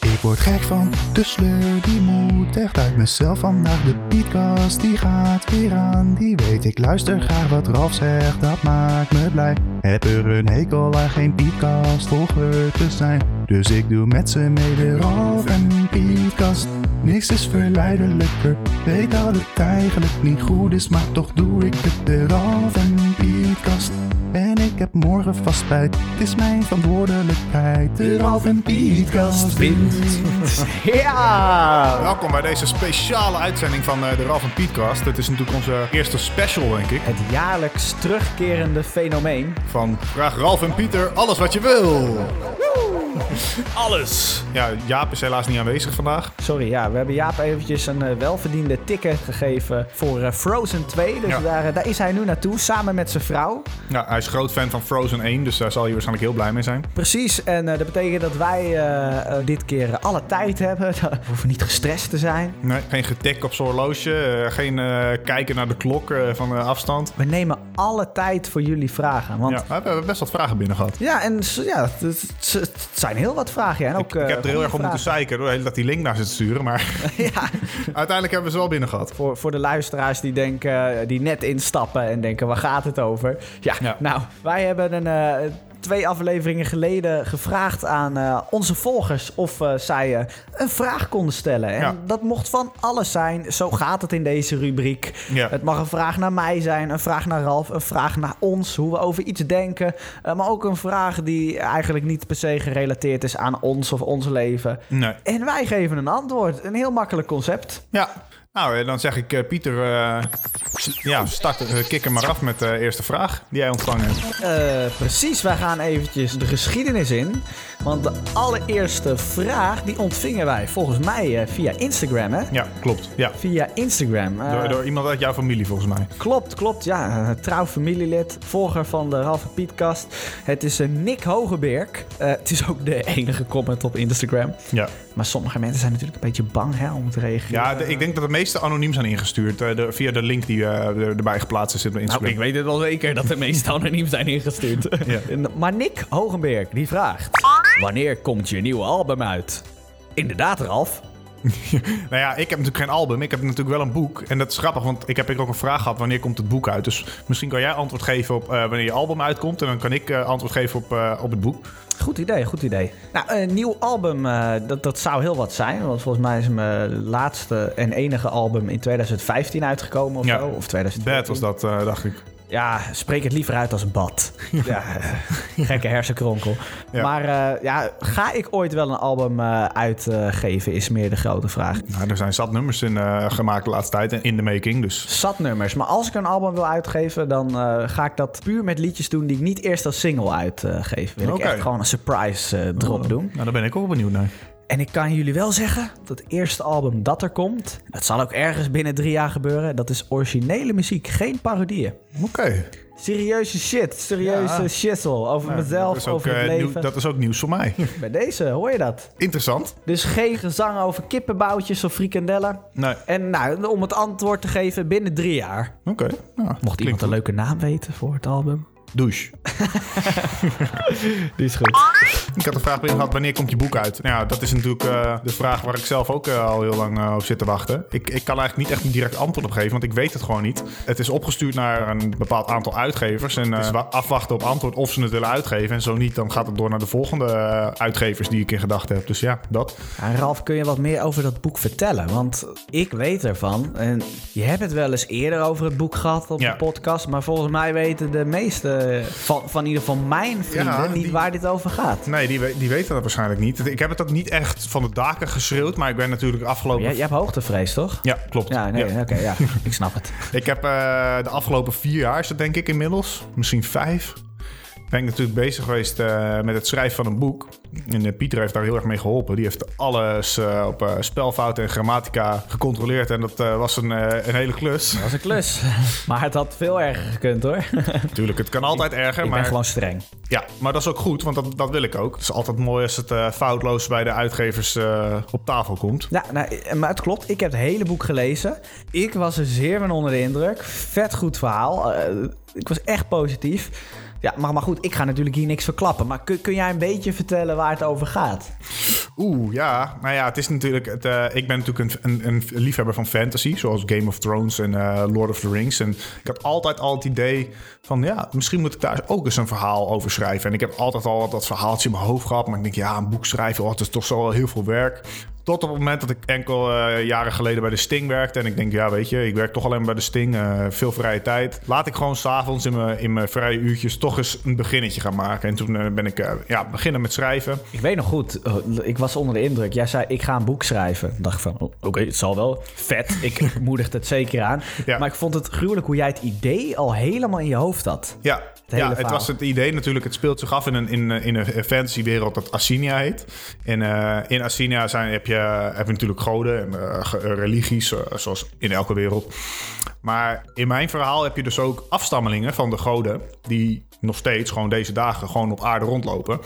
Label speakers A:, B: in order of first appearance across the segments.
A: Ik word gek van de sleur, die moet echt uit mezelf vandaag. De podcast die gaat weer aan, die weet ik luister graag wat Ralf zegt, dat maakt me blij. Heb er een hekel aan geen podcast volger te zijn, dus ik doe met ze mee de Ralf en Pietkast. Niks is verleidelijker, weet dat het eigenlijk niet goed is, maar toch doe ik het de Ralf en Pietkast. En ik heb morgen vast spijt, het is mijn verantwoordelijkheid, de Ralf en Pietkast.
B: Ja!
C: Welkom bij deze speciale uitzending van eh, de Ralf en Pietcast. Het is natuurlijk onze eerste special, denk ik.
B: Het jaarlijks terugkerende fenomeen.
C: Van Vraag Ralf en Pieter alles wat je wil.
D: Alles.
C: Ja, Jaap is helaas niet aanwezig vandaag.
B: Sorry, ja, we hebben Jaap eventjes een eh, welverdiende ticket gegeven voor eh, Frozen 2. Dus
C: Ja.
B: daar, eh, daar is hij nu naartoe, samen met zijn vrouw.
C: Ja, hij is groot fan van Frozen 1, dus daar zal hij waarschijnlijk heel blij mee zijn.
B: Precies, en eh, dat betekent dat wij eh, eh, dit keer eh, alle tijd hebben. We hoeven niet gestrest te zijn.
C: Nee, geen getik op zijn horloge, eh, geen eh, kijken naar de klok eh, van eh, afstand.
B: We nemen alle tijd voor jullie vragen. Want
C: Ja, we hebben best wat vragen binnen gehad.
B: Ja, en s- ja, het, het- het zijn heel wat vragen. ja. En ook, eh,
C: Ik, ik heb er heel erg op moeten zeiken door de hele dag die link naar ze te sturen, maar
B: zijn. Ja,
C: uiteindelijk hebben we ze wel binnen gehad.
B: voor, voor de luisteraars die, denken, die net instappen en denken, waar gaat het over? Ja,
C: Ja.
B: nou, wij hebben een, eh, twee afleveringen geleden gevraagd aan eh, onze volgers of eh, zij eh, een vraag konden stellen. En
C: Ja.
B: dat mocht van alles zijn. Zo gaat het in deze rubriek.
C: Ja.
B: Het mag een vraag naar mij zijn, een vraag naar Ralf, een vraag naar ons, hoe we over iets denken. Eh, maar ook een vraag die eigenlijk niet per se gerelateerd is aan ons of ons leven.
C: Nee.
B: En wij geven een antwoord. Een heel makkelijk concept.
C: Ja, nou, eh, dan zeg ik eh, Pieter, eh, ja, start, eh, kik hem maar af met de eerste vraag die jij ontvangen hebt.
B: Eh, precies, wij gaan eventjes de geschiedenis in. Want de allereerste vraag die ontvingen wij volgens mij eh, via Instagram, hè?
C: Ja, klopt. Ja.
B: Via Instagram. Eh,
C: Door, door iemand uit jouw familie, volgens mij.
B: Klopt, klopt. Ja, een trouw familielid, volger van de Ralf en Pietkast. Het is een Nick Hogeberg. Eh, het is ook de enige comment op Instagram.
C: Ja,
B: Maar sommige mensen zijn natuurlijk een beetje bang hè, om te reageren.
C: ja de- ik denk dat de meeste anoniem zijn ingestuurd eh, de- via de link die eh, er- erbij geplaatst is op Instagram.
D: Nou, ik weet het wel zeker dat de meeste anoniem zijn ingestuurd.
B: En- Maar Nick Hogenberg die vraagt: Wanneer komt je nieuwe album uit? Inderdaad, Ralf.
C: Nou ja, ik heb natuurlijk geen album. Ik heb natuurlijk wel een boek. En dat is grappig, want ik heb ook een vraag gehad. Wanneer komt het boek uit? Dus misschien kan jij antwoord geven op eh, wanneer je album uitkomt. En dan kan ik eh, antwoord geven op, eh, op het boek.
B: Goed idee, goed idee. Nou, een nieuw album, eh, dat, dat zou heel wat zijn. Want volgens mij is mijn laatste en enige album in 2015 uitgekomen of
C: Ja.
B: zo. Of
C: Bad
B: 2014.
C: was dat, eh, dacht ik.
B: Ja, spreek het liever uit als bad. Ja, gekke hersenkronkel.
C: Ja.
B: Maar eh, ja, ga ik ooit wel een album eh, uitgeven, is meer de grote vraag.
C: Nou, er zijn zat nummers in eh, gemaakt de laatste tijd en in de making. Dus
B: Zat nummers. Maar als ik een album wil uitgeven, dan eh, ga ik dat puur met liedjes doen die ik niet eerst als single uitgeef. Wil
C: Oké.
B: ik echt gewoon een surprise eh, drop doen.
C: nou, daar ben ik ook benieuwd naar.
B: En ik kan jullie wel zeggen dat het eerste album dat er komt, dat zal ook ergens binnen drie jaar gebeuren, dat is originele muziek, geen parodieën.
C: Oké.
B: Serieuze shit, serieuze
C: Ja. Nou,
B: shizzle over
C: Dat,
B: mezelf,
C: is ook,
B: over het
C: eh, nieuw-
B: leven.
C: dat is ook nieuws voor mij.
B: Bij deze hoor je dat.
C: Interessant.
B: Dus geen gezang over kippenboutjes of frikandellen.
C: Nee.
B: En nou, om het antwoord te geven, binnen drie jaar.
C: Oké. Nou,
B: Mocht iemand een leuke naam weten voor het album.
C: douche.
B: Die is goed.
C: Ik had de vraag binnen gehad, wanneer komt je boek uit? Nou ja, dat is natuurlijk eh, de vraag waar ik zelf ook eh, al heel lang eh, op zit te wachten. Ik, ik kan eigenlijk niet echt een direct antwoord op geven, want ik weet het gewoon niet. Het is opgestuurd naar een bepaald aantal uitgevers. En eh, het is wa- afwachten op antwoord of ze het willen uitgeven. En zo niet, dan gaat het door naar de volgende eh, uitgevers die ik in gedachten heb. Dus ja, dat.
B: Ralf, kun je wat meer over dat boek vertellen? Want ik weet ervan. En je hebt het wel eens eerder over het boek gehad op
C: Ja.
B: de podcast. Maar volgens mij weten de meeste van, van in ieder geval mijn vrienden
C: Ja,
B: niet
C: die-
B: waar dit over gaat.
C: Nee, die, we- die weten dat waarschijnlijk niet. Ik heb het ook niet echt van de daken geschreeuwd, maar ik ben natuurlijk afgelopen...
B: Jij, jij hebt hoogtevrees, toch?
C: Ja, klopt.
B: Ja, nee,
C: Ja.
B: oké, ja. Ik snap het.
C: Ik heb eh, de afgelopen vier jaar, is dat denk ik inmiddels, misschien vijf, ben ik natuurlijk bezig geweest eh, met het schrijven van een boek. En eh, Pieter heeft daar heel erg mee geholpen. Die heeft alles eh, op eh, spelfouten en grammatica gecontroleerd. En dat eh, was een, eh, een hele klus.
B: Dat was een klus. Maar het had veel erger gekund hoor.
C: Natuurlijk, het kan altijd erger.
B: Ik
C: maar...
B: ben gewoon streng.
C: Ja, maar dat is ook goed, want dat, dat wil ik ook. Het is altijd mooi als het eh, foutloos bij de uitgevers eh, op tafel komt.
B: Ja, nou, maar het klopt. Ik heb het hele boek gelezen. Ik was er zeer van onder de indruk. Vet goed verhaal. Eh, ik was echt positief. Ja, maar, maar goed, ik ga natuurlijk hier niks verklappen. Maar kun, kun jij een beetje vertellen waar het over gaat?
C: Oeh, ja. Nou ja, het is natuurlijk... Het, eh, ik ben natuurlijk een, een, een liefhebber van fantasy, zoals Game of Thrones en eh, Lord of the Rings. En ik had altijd al het idee van, ja, misschien moet ik daar ook eens een verhaal over schrijven. En ik heb altijd al dat verhaaltje in mijn hoofd gehad. Maar ik denk, ja, een boek schrijven, oh, het is toch zo wel heel veel werk. Tot op het moment dat ik enkel eh, jaren geleden bij de Sting werkte. En ik denk, ja, weet je, ik werk toch alleen bij de Sting. eh, veel vrije tijd. Laat ik gewoon s'avonds in mijn, in mijn vrije uurtjes toch eens een beginnetje gaan maken. En toen eh, ben ik eh, ja, beginnen met schrijven.
B: Ik weet nog goed, eh, ik was onder de indruk. Jij zei, ik ga een boek schrijven. Ik dacht van, oh, oké, het zal wel. Vet, ik moedigde het zeker aan.
C: Ja.
B: Maar ik vond het gruwelijk hoe jij het idee al helemaal in je hoofd had.
C: Ja,
B: hele
C: ja het
B: verhaal.
C: was het idee natuurlijk. Het speelt zich af in een, in, een- in een fantasywereld dat Assinia heet. En eh, in Assinia zijn, heb, je, heb je natuurlijk goden en eh, ge- eh, religies, eh, zoals in elke wereld. Maar in mijn verhaal heb je dus ook afstammelingen van de goden... die nog steeds gewoon deze dagen gewoon op aarde rondlopen...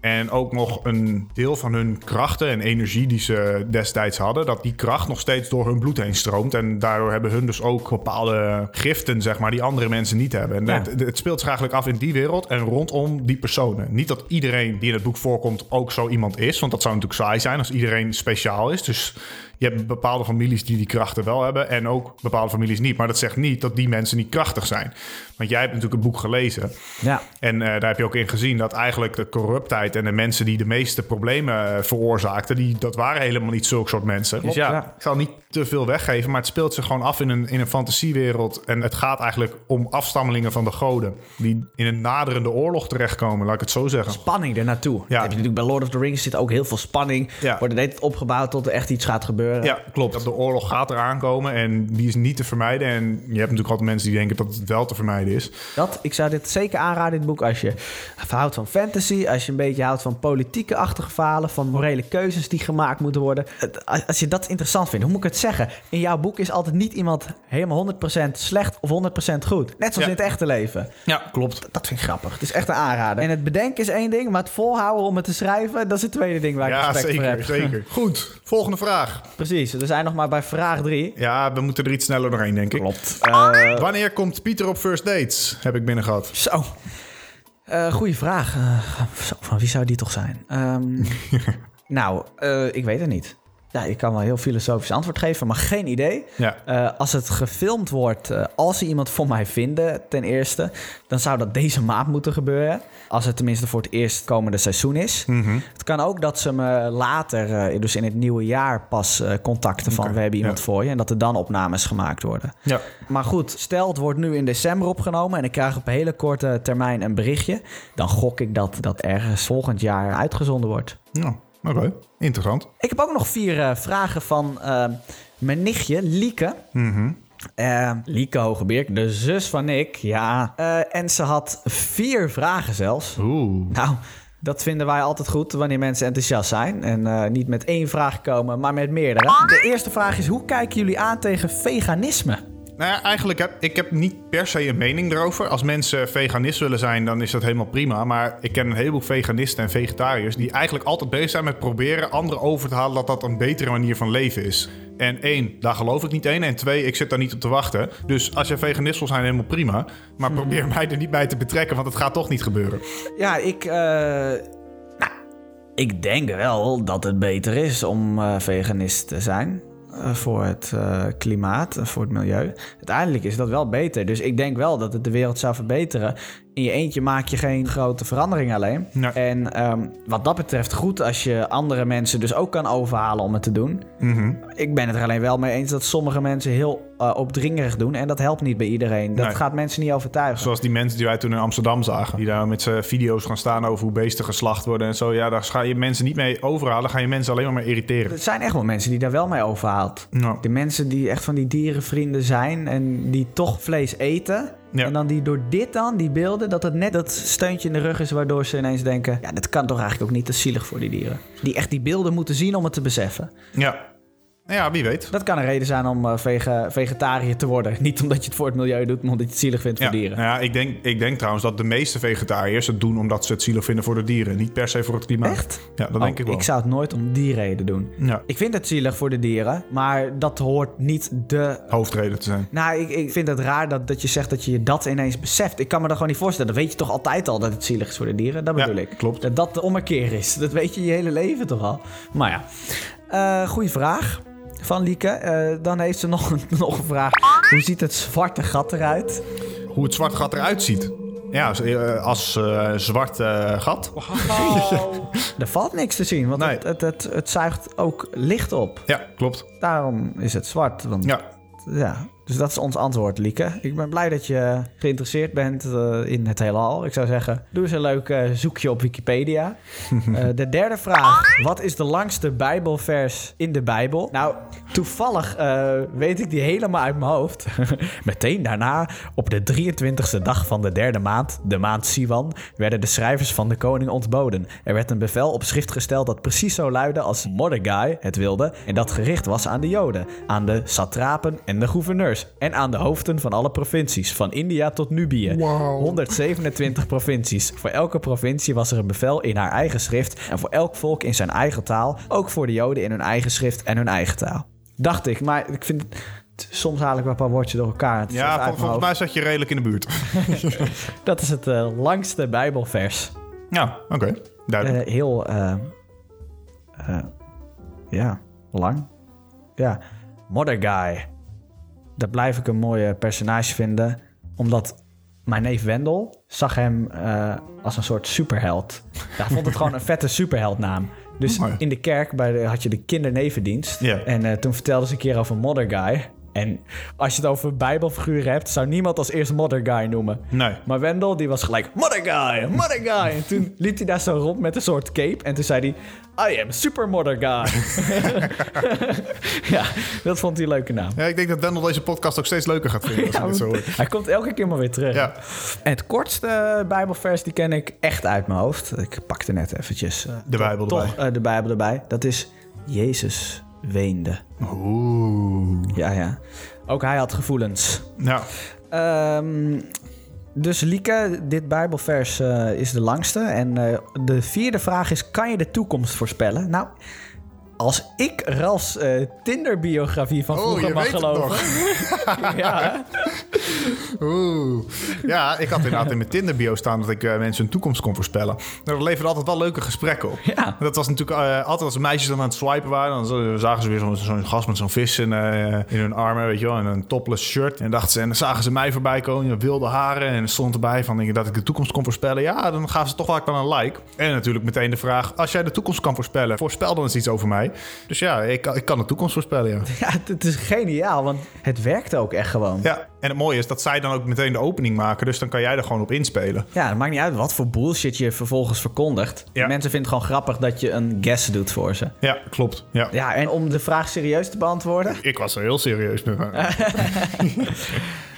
C: En ook nog een deel van hun krachten en energie die ze destijds hadden, dat die kracht nog steeds door hun bloed heen stroomt. En daardoor hebben hun dus ook bepaalde giften, zeg maar, die andere mensen niet hebben. En
B: Ja.
C: het, het speelt zich eigenlijk af in die wereld en rondom die personen. Niet dat iedereen die in het boek voorkomt ook zo iemand is, want dat zou natuurlijk saai zijn als iedereen speciaal is. Dus je hebt bepaalde families die die krachten wel hebben en ook bepaalde families niet. Maar dat zegt niet dat die mensen niet krachtig zijn. Want jij hebt natuurlijk het boek gelezen.
B: Ja,
C: En eh, daar heb je ook in gezien dat eigenlijk de corruptheid en de mensen die de meeste problemen eh, veroorzaakten, die, dat waren helemaal niet zulke soort mensen. Dus ja,
B: ja.
C: ik zal niet te veel weggeven, maar het speelt zich gewoon af in een, in een fantasiewereld. En het gaat eigenlijk om afstammelingen van de goden, die in een naderende oorlog terechtkomen, laat ik het zo zeggen.
B: spanning ernaartoe. Dat heb je natuurlijk bij Lord of the Rings zit ook heel veel spanning.
C: Ja.
B: Wordt het opgebouwd tot er echt iets gaat gebeuren.
C: Ja, klopt. Dat de oorlog gaat eraan komen en die is niet te vermijden. En je hebt natuurlijk altijd mensen die denken dat het wel te vermijden is.
B: Dat, ik zou dit zeker aanraden, dit boek, als je houdt van fantasy, als je een beetje houdt van politieke achtergevalen, van morele keuzes die gemaakt moeten worden. Het- als- Als je dat interessant vindt, hoe moet ik het zeggen? In jouw boek is altijd niet iemand helemaal 100% slecht of 100% goed. Net zoals
C: Ja.
B: in het echte leven.
D: Ja, klopt.
B: Dat vind ik grappig. Het is echt een aanrader. En het bedenken is één ding, maar het volhouden om het te schrijven, dat is het tweede ding waar ik
C: Ja,
B: respect voor
C: zeker,
B: heb.
C: zeker. Goed, volgende vraag.
B: Precies, we zijn nog maar bij vraag drie.
C: Ja, we moeten er iets sneller doorheen, denk ik.
B: Klopt.
C: Wanneer komt Pieter op first dates? Heb ik binnen gehad.
B: Zo. Eh goeie vraag. Eh, zo, van wie zou die toch zijn? Ehm, nou, eh, ik weet het niet. Ja, ik kan wel een heel filosofisch antwoord geven, maar geen idee.
C: Ja.
B: Eh, als het gefilmd wordt, eh, als ze iemand voor mij vinden, ten eerste, dan zou dat deze maand moeten gebeuren. Als het tenminste voor het eerst komende seizoen is.
C: Mhm.
B: Het kan ook dat ze me later, eh, dus in het nieuwe jaar, pas eh, contacten van
C: Oké,
B: we hebben iemand
C: ja.
B: voor je. En dat er dan opnames gemaakt worden.
C: Ja.
B: Maar goed, stel het wordt nu in december opgenomen en ik krijg op hele korte termijn een berichtje. Dan gok ik dat dat ergens volgend jaar uitgezonden wordt.
C: Nou, oké. Interessant.
B: Ik heb ook nog vier eh, vragen van eh, mijn nichtje, Lieke. Eh, Lieke Hogebeerk, de zus van ik, ja. Eh, en ze had vier vragen zelfs.
C: Oeh.
B: Nou, dat vinden wij altijd goed wanneer mensen enthousiast zijn. En eh, niet met één vraag komen, maar met meerdere. De eerste vraag is, hoe kijken jullie aan tegen veganisme?
C: Nou ja, eigenlijk heb ik heb niet per se een mening erover. Als mensen veganist willen zijn, dan is dat helemaal prima. Maar ik ken een heleboel veganisten en vegetariërs die eigenlijk altijd bezig zijn met proberen anderen over te halen dat dat een betere manier van leven is. En één, daar geloof ik niet in. En twee, ik zit daar niet op te wachten. Dus als je veganist wil zijn, helemaal prima. Maar probeer mij er niet bij te betrekken, want het gaat toch niet gebeuren.
B: Ja, ik. eh, nou, ik denk wel dat het beter is om eh, veganist te zijn. eh, voor het eh, klimaat, eh, voor het milieu. Uiteindelijk is dat wel beter. Dus ik denk wel dat het de wereld zou verbeteren. In je eentje maak je geen grote verandering alleen.
C: Nee.
B: En ehm, wat dat betreft goed als je andere mensen dus ook kan overhalen om het te doen.
C: Mhm.
B: Ik ben het er alleen wel mee eens dat sommige mensen heel eh, opdringerig doen. En dat helpt niet bij iedereen. Dat
C: Nee.
B: gaat mensen niet overtuigen.
C: Zoals die mensen die wij toen in Amsterdam zagen. Die daar met z'n video's gaan staan over hoe beesten geslacht worden en zo. Ja, daar ga je mensen niet mee overhalen. Ga je mensen alleen maar maar irriteren.
B: Er zijn echt wel mensen die daar wel mee overhaalt.
C: Nou,
B: De mensen die echt van die dierenvrienden zijn en die toch vlees eten.
C: Ja.
B: En dan die door dit dan, die beelden, dat het net dat steuntje in de rug is... waardoor ze ineens denken, ja, dat kan toch eigenlijk ook niet. Dat is zielig voor die dieren. Die echt die beelden moeten zien om het te beseffen.
C: Ja. Nou ja, wie weet.
B: Dat kan een reden zijn om eh, vege- vegetariër te worden. Niet omdat je het voor het milieu doet, maar omdat je het zielig vindt
C: Ja.
B: voor dieren.
C: Nou ja, ik, denk, ik denk trouwens dat de meeste vegetariërs het doen omdat ze het zielig vinden voor de dieren. Niet per se voor het klimaat.
B: Echt?
C: Ja, dat
B: Oh,
C: denk ik wel.
B: Ik zou het nooit om die reden doen.
C: Ja,
B: Ik vind het zielig voor de dieren, maar dat hoort niet de...
C: hoofdreden te zijn.
B: Nou, ik, ik vind het raar dat, dat je zegt dat je je dat ineens beseft. Ik kan me dat gewoon niet voorstellen. Dat weet je toch altijd al dat het zielig is voor de dieren? Dat
C: Ja,
B: bedoel ik.
C: klopt.
B: Dat dat de ommekeer is. Dat weet je je hele leven toch al. Maar ja. Eh goeie vraag van Lieke. Eh, dan heeft ze nog, een- nog een vraag. Hoe ziet het zwarte gat eruit?
C: Hoe het zwart gat eruit ziet. Ja, als, eh, als eh, zwart eh, gat.
B: Er valt niks te zien, want
C: Nee.
B: het, het, het, het zuigt ook licht op.
C: Ja, klopt.
B: Daarom is het zwart. Want
C: Ja,
B: Ja, dus dat is ons antwoord, Lieke. Ik ben blij dat je geïnteresseerd bent eh, in het heelal. Ik zou zeggen, doe eens een leuk eh, zoekje op Wikipedia. Eh, de derde vraag. Wat is de langste bijbelvers in de Bijbel? Nou, toevallig eh, weet ik die helemaal uit mijn hoofd. Meteen daarna, op de 23e dag van de derde maand, de maand Siwan, werden de schrijvers van de koning ontboden. Er werd een bevel op schrift gesteld dat precies zo luidde als Mordecai het wilde en dat gericht was aan de Joden, aan de satrapen en de gouverneurs en aan de hoofden van alle provincies, van India tot Nubië. 127 provincies. Voor elke provincie was er een bevel in haar eigen schrift en voor elk volk in zijn eigen taal, ook voor de Joden in hun eigen schrift en hun eigen taal. Dacht ik, maar ik vind soms haal ik wel een paar woordjes door elkaar. Het is uit
C: ja vol-
B: mijn
C: volgens
B: hoofd.
C: mij zat je redelijk in de buurt.
B: Dat is het eh, langste Bijbelvers.
C: ja, oké. Duidelijk.
B: Eh, heel, eh, eh, ja, lang. Ja, Mordecai. Dat blijf ik een mooie personage vinden. Omdat mijn neef Wendel zag hem eh, als een soort superheld. Hij vond het gewoon een vette superheldnaam. Dus
C: Mooi.
B: in de kerk bij de, had je de kindernevendienst.
C: Ja.
B: En eh, toen vertelde ze een keer over Mordecai. En als je het over bijbelfiguren hebt... zou niemand als eerst Mordecai noemen.
C: Nee.
B: Maar Wendel die was gelijk Mordecai, Mordecai. En toen liep hij daar zo rond met een soort cape. En toen zei hij, I am super Mordecai. ja, dat vond hij een leuke naam.
C: Ja, ik denk dat Wendel deze podcast ook steeds leuker gaat vinden. Als ik dit zo hoor.
B: Hij komt elke keer maar weer terug.
C: Ja.
B: En het kortste Bijbelvers, die ken ik echt uit mijn hoofd. Ik pakte net eventjes eh,
C: De Bijbel
B: toch
C: erbij.
B: eh, de Bijbel erbij. Dat is Jezus weende.
C: Oeh.
B: Ja, ja. Ook hij had gevoelens.
C: Ja.
B: Ehm, dus Lieke, dit Bijbelvers eh, is de langste. En eh, de vierde vraag is: kan je de toekomst voorspellen? Nou, als ik Ralfs eh, Tinder-biografie van
C: Oh,
B: vroeger
C: je
B: mag
C: weet het
B: geloven. ja, hè?
C: Oeh. Ja, ik had inderdaad in mijn Tinder-bio staan dat ik eh, mensen hun toekomst kon voorspellen. Nou, dat leverde altijd wel leuke gesprekken op.
B: Ja.
C: Dat was natuurlijk eh, altijd als meisjes dan aan het swipen waren. Dan z- zagen ze weer zo'n zo'n gast met zo'n vis in, eh, in hun armen, weet je wel. En een topless shirt. En, dachten ze, en dan zagen ze mij voorbij komen, wilde haren. En er stond erbij van ik- dat ik de toekomst kon voorspellen. Ja, dan gaven ze toch vaak wel een like. En natuurlijk meteen de vraag, als jij de toekomst kan voorspellen, voorspel dan eens iets over mij. Dus ja, ik, kan- ik kan de toekomst voorspellen, ja.
B: ja, het- het is geniaal, want het werkte ook echt gewoon. Ja.
C: Ja, en het mooie is dat zij dan ook meteen de opening maken. Dus dan kan jij er gewoon op inspelen.
B: het maakt niet uit wat voor bullshit je vervolgens verkondigt.
C: Ja.
B: Mensen vinden het gewoon grappig dat je een guess doet voor ze.
C: Ja, klopt. Ja.
B: Ja, en om de vraag serieus te beantwoorden.
C: Ik was er heel serieus mee.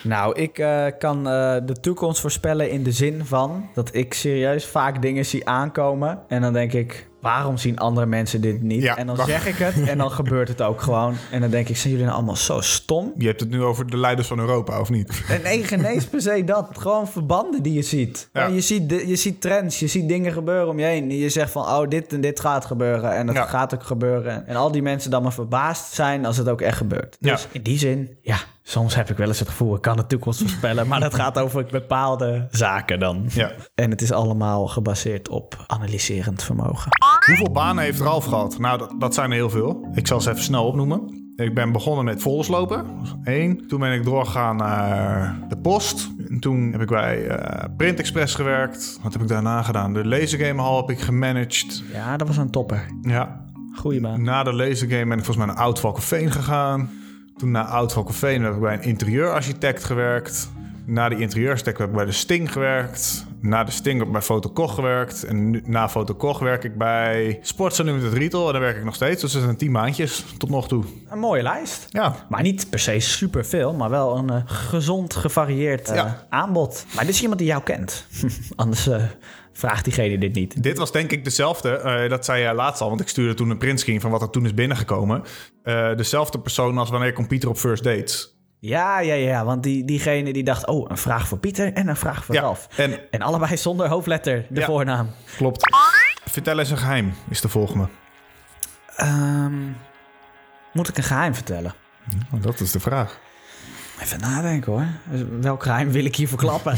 B: Nou, ik eh, kan eh, de toekomst voorspellen in de zin van dat ik serieus vaak dingen zie aankomen. En dan denk ik, waarom zien andere mensen dit niet?
C: Ja,
B: en dan
C: wacht.
B: zeg ik het en dan gebeurt het ook gewoon. En dan denk ik, zijn jullie nou allemaal zo stom?
C: Je hebt het nu over de leiders van Europa, of niet?
B: En nee, genees per se dat. Gewoon verbanden die je ziet.
C: Ja.
B: Je, ziet de- je ziet trends, je ziet dingen gebeuren om je heen. En je zegt van, oh, dit en dit gaat gebeuren. En dat
C: Ja.
B: gaat ook gebeuren. En al die mensen dan maar verbaasd zijn als het ook echt gebeurt.
C: Ja.
B: Dus in die zin, ja, soms heb ik wel eens het gevoel... ik kan de toekomst voorspellen, maar dat gaat over bepaalde zaken dan.
C: Ja.
B: En het is allemaal gebaseerd op analyserend vermogen.
C: Hoeveel banen heeft Ralf gehad? Nou, dat, dat zijn er heel veel. Ik zal ze even snel opnoemen. Ik ben begonnen met volslopen. Dat was één. Toen ben ik doorgegaan naar de post. En toen heb ik bij eh, Print Express gewerkt. Wat heb ik daarna gedaan? De Laser Game Hall heb ik gemanaged.
B: Ja, dat was een topper.
C: Ja,
B: Goeie baan.
C: Na de lasergame ben ik volgens mij naar Oud Valkenveen gegaan. Toen na Oud Valkenveen heb ik bij een interieurarchitect gewerkt. na de interieurstack heb ik bij de Sting gewerkt. Na de Sting heb ik bij Fotokoch gewerkt. En nu- na Fotokoch werk ik bij Sports Unlimited Retail. En daar werk ik nog steeds. Dus dat zijn tien maandjes tot nog toe.
B: Een mooie lijst.
C: Ja.
B: Maar niet per se superveel, maar wel een eh, gezond, gevarieerd eh,
C: Ja.
B: aanbod. Maar dit is iemand die jou kent. Anders eh, vraagt diegene dit niet.
C: Dit was denk ik dezelfde, eh, dat zei jij laatst al, want ik stuurde toen een printscreen van wat er toen is binnengekomen. Eh, dezelfde persoon als wanneer ik om Pieter op First Dates.
B: Ja, ja, ja, want die, diegene die dacht... oh, een vraag voor Pieter en een vraag voor
C: Ja,
B: Ralf.
C: en-
B: en allebei zonder hoofdletter, de
C: Ja.
B: voornaam.
C: Klopt. Vertel eens een geheim, is de volgende.
B: Ehm, moet ik een geheim vertellen?
C: dat is de vraag.
B: Even nadenken hoor. Dus Welk geheim wil ik hier verklappen?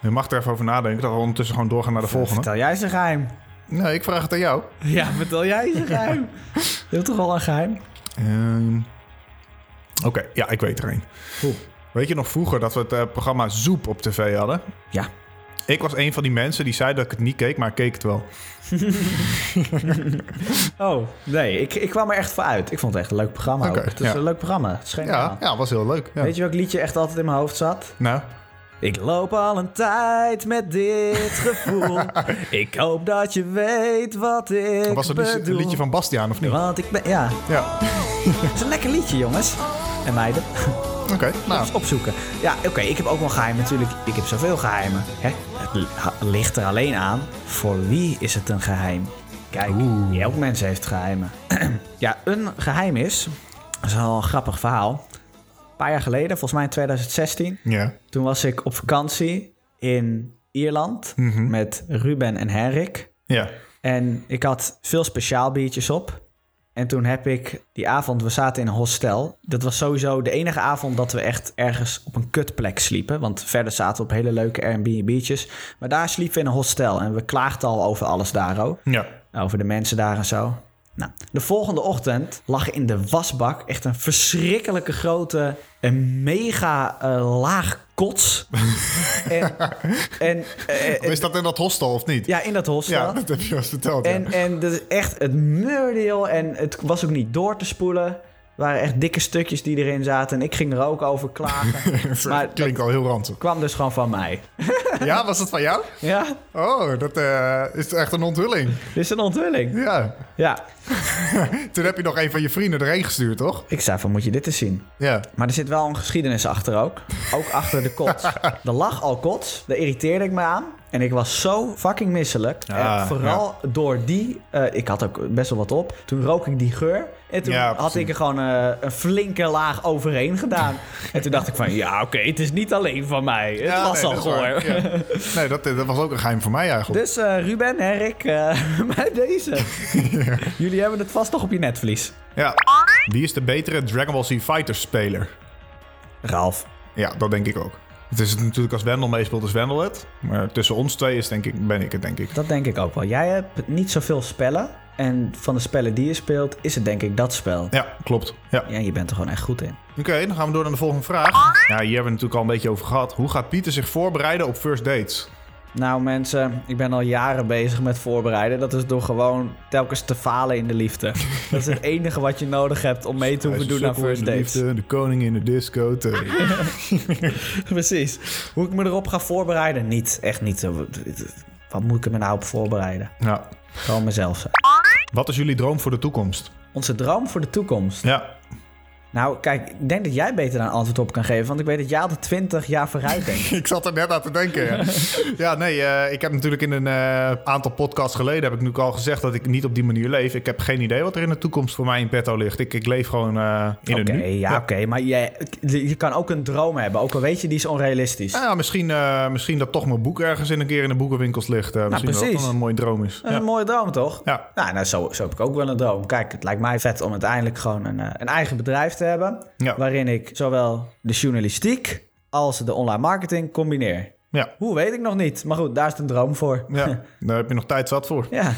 C: Je mag er even over nadenken, dat we ondertussen gewoon doorgaan naar de volgende.
B: Vertel jij eens een geheim.
C: Nee, ik vraag het aan jou.
D: Ja, vertel jij eens.
B: Een geheim. Je hebt toch wel een geheim?
C: Ehm, Oké, ja, ik weet er een. Weet je nog vroeger dat we het eh, programma Zoep op tv hadden?
B: Ja.
C: Ik was een van die mensen die zei dat ik het niet keek, maar ik keek het wel.
B: Oh, nee. Ik, ik kwam er echt voor uit. Ik vond het echt een leuk programma
C: Oké,
B: ook. Het is
C: ja.
B: een leuk programma. Het scheen
C: Ja,
B: ja,
C: ja was heel leuk. Ja.
B: Weet je welk liedje echt altijd in mijn hoofd zat?
C: Nou,
B: Ik loop al een tijd met dit gevoel. ik hoop dat je weet wat ik
C: was het
B: bedoel.
C: liedje, liedje van Bastiaan of niet?
B: Want ik ben... Ja,
C: Ja,
B: het is een lekker liedje, jongens. En meiden.
C: oké. Nou,
B: opzoeken. Ja, oké, ik heb ook wel geheimen natuurlijk. Ik heb zoveel geheimen. Hè? Het li- ha- ligt er alleen aan voor wie is het een geheim. Kijk, elk mens heeft geheimen. ja, een geheim is, dat is wel een grappig verhaal. Een paar jaar geleden, volgens mij in 2016,
C: ja.
B: toen was ik op vakantie in Ierland met Ruben en Henrik.
C: Ja.
B: En ik had veel speciaal biertjes op. En toen heb ik die avond, we zaten in een hostel. Dat was sowieso de enige avond dat we echt ergens op een kutplek sliepen. Want verder zaten we op hele leuke Airbnb'tjes. Maar daar sliepen we in een hostel. En we klaagden al over alles daar ook.
C: Ja.
B: Over de mensen daar en zo. Nou, de volgende ochtend lag in de wasbak echt een verschrikkelijke grote, een mega eh, laag kots. en, en, eh,
C: Is dat in dat hostel of niet?
B: ja, in dat hostel.
C: Ja, dat heb je al eens verteld. ja.
B: En, en dat is echt het meurdeel. En het was ook niet door te spoelen. Er waren echt dikke stukjes die erin zaten. En ik ging er ook over klagen. maar dat
C: Klinkt al heel ranzig.
B: kwam dus gewoon van mij.
C: Ja, was dat van jou?
B: Ja,
C: Oh, dat eh, is echt een onthulling.
B: dit is een onthulling.
C: Ja.
B: Ja,
C: Toen heb je nog een van je vrienden erheen gestuurd, toch?
B: ik zei van moet je dit eens zien.
C: Ja.
B: Maar er zit wel een geschiedenis achter ook. Ook achter de kots. Er lag al kots. Daar irriteerde ik me aan. En ik was zo fucking misselijk.
C: Ah, Ja,
B: en vooral door die... eh, ik had ook best wel wat op. Toen rook ik die geur. En toen
C: Ja,
B: had
C: precies.
B: ik er gewoon eh, een flinke laag overheen gedaan. en toen dacht ik van... Ja, oké. het is niet alleen van mij. Het
C: Ja,
B: was
C: nee,
B: al
C: dat is waar.
B: goor.
C: Ja. Nee, dat, dat was ook een geheim voor mij eigenlijk.
B: Dus eh, Ruben, Erik, bij deze. Jullie hebben het vast nog op je netvlies.
C: Ja. Wie is de betere Dragon Ball Z Fighters speler?
B: Ralf.
C: Ja, dat denk ik ook. Het is natuurlijk als Wendel meespeelt, is Wendel het. Maar tussen ons twee is, denk ik, ben ik het, denk ik.
B: Dat denk ik ook wel. Jij hebt niet zoveel spellen. En van de spellen die je speelt, is het denk ik dat spel.
C: Ja, klopt. Ja.
B: Ja, je bent er gewoon echt goed in.
C: Oké, dan gaan we door naar de volgende vraag. Ja, hier hebben we het natuurlijk al een beetje over gehad. Hoe gaat Pieter zich voorbereiden op first dates?
B: Nou mensen, ik ben al jaren bezig met voorbereiden. Dat is door gewoon telkens te falen in de liefde. Dat is het enige wat je nodig hebt om mee te hoeven doen aan first dates.
C: De koning in de disco.
B: Precies. Hoe ik me erop ga voorbereiden? Niet, echt niet. Wat moet ik me nou op voorbereiden?
C: ja.
B: Gewoon mezelf zijn.
C: Wat is jullie droom voor de toekomst?
B: Onze droom voor de toekomst.
C: Ja.
B: Nou, kijk, ik denk dat jij beter daar een antwoord op kan geven. Want ik weet dat jij altijd 20 jaar vooruit denkt.
C: Ik zat er net aan te denken. Ja, ja nee, eh, ik heb natuurlijk in een eh, aantal podcasts geleden heb ik nu al gezegd dat ik niet op die manier leef. Ik heb geen idee wat er in de toekomst voor mij in petto ligt. Ik, ik leef gewoon eh, in
B: Oké,
C: het nu.
B: ja, oké. maar jij, je kan ook een droom hebben. Ook al weet je, die is onrealistisch.
C: Nou ja, misschien, eh, misschien dat toch mijn boek ergens in een keer in de boekenwinkels ligt. Eh, misschien dat dat
B: Nou, precies.
C: wel een mooie droom is.
B: dat is
C: Ja.
B: een mooie droom, toch?
C: Ja.
B: Nou, nou zo, zo heb ik ook wel een droom. Kijk, het lijkt mij vet om uiteindelijk gewoon een, eh, een eigen bedrijf te hebben.
C: Ja.
B: Waarin ik zowel de journalistiek als de online marketing combineer.
C: Ja.
B: Hoe weet ik nog niet. Maar goed, daar is het een droom voor.
C: Ja, daar heb je nog tijd zat voor.
B: ja.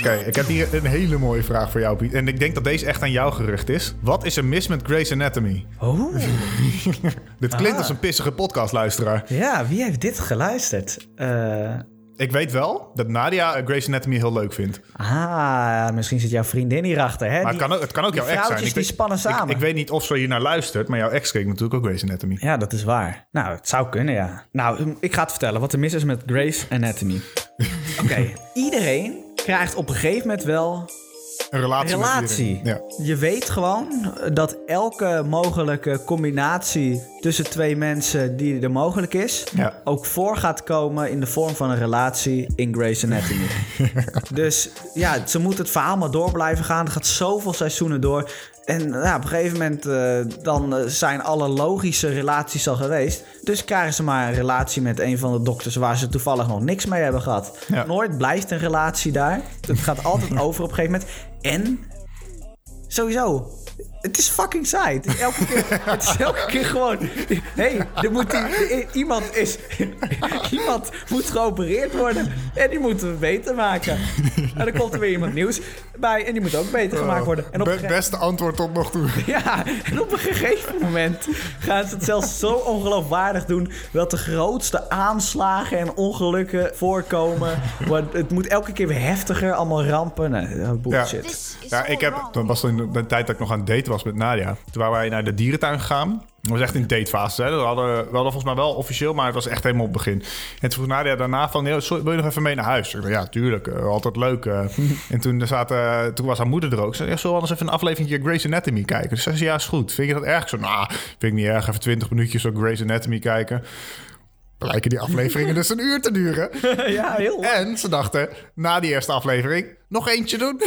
C: Oké, ik heb hier een hele mooie vraag voor jou, Piet. En ik denk dat deze echt aan jou gericht is. Wat is er mis met Grey's Anatomy?
B: Oeh. Ah.
C: Dit klinkt als een pissige podcastluisteraar.
B: Ja, wie heeft dit geluisterd? Eh,
C: Ik weet wel dat Nadia eh, Grey's Anatomy heel leuk vindt.
B: Ah, misschien zit jouw vriendin hierachter, hè? Die-
C: Maar het kan ook, het kan ook
B: die
C: jouw ex zijn.
B: vrouwtjes die
C: weet-
B: spannen samen.
C: Ik, ik weet niet of ze hier naar luistert, maar jouw ex keek natuurlijk ook Grey's Anatomy.
B: Ja, dat is waar. Nou, het zou kunnen, ja. Nou, ik ga het vertellen wat er mis is met Grace Anatomy. Oké, iedereen krijgt op een gegeven moment wel
C: Een relatie. met
B: relatie.
C: iedereen. Ja.
B: Je weet gewoon dat elke mogelijke combinatie tussen twee mensen die er mogelijk is,
C: Ja.
B: ook voor gaat komen in de vorm van een relatie in Grey's Anatomy. dus ja, ze moet het verhaal maar door blijven gaan. Er gaat zoveel seizoenen door. En ja, op een gegeven moment eh, dan eh, zijn alle logische relaties al geweest. Dus krijgen ze maar een relatie met een van de dokters waar ze toevallig nog niks mee hebben gehad.
C: Ja.
B: Nooit blijft een relatie daar. Het gaat altijd over op een gegeven moment. En Sowieso. Het is fucking saai. Het is elke keer, het is elke keer gewoon... Hé, hey, er moet i- i- iemand, is, iemand moet geopereerd worden. En die moeten we beter maken. En dan komt er weer iemand nieuws bij. En die moet ook
C: Oh,
B: beter gemaakt worden. En op een
C: Be-
B: gege-
C: beste antwoord tot nog toe.
B: ja, en op een gegeven moment gaan ze het zelfs zo ongeloofwaardig doen... dat de grootste aanslagen en ongelukken voorkomen. Maar het moet elke keer weer heftiger. Allemaal rampen. Nee, bullshit.
E: This is
C: Ja,
E: so
C: ik heb,
E: wrong.
C: dat was in de tijd dat ik nog aan het daten was met Nadia. Toen waren wij naar de dierentuin gegaan. Dat was echt in de datefase. Hè? We, hadden, we hadden volgens mij wel officieel, maar het was echt helemaal op het begin. En toen vroeg Nadia daarna van, "Yo, sorry, wil je nog even mee naar huis? Ik dacht, ja, tuurlijk. eh, altijd leuk. eh." en toen, zaten, toen was haar moeder er ook. Ze zei, "Ja, zullen we anders even een aflevering Grey's Anatomy kijken? Dus zei ze, ja, is goed. Vind je dat erg? Ik zei, nou, vind ik niet erg. Even twintig minuutjes op Grey's Anatomy kijken. Blijken die afleveringen dus een uur te duren.
B: Ja, heel
C: En ze dachten, na die eerste aflevering, nog eentje doen.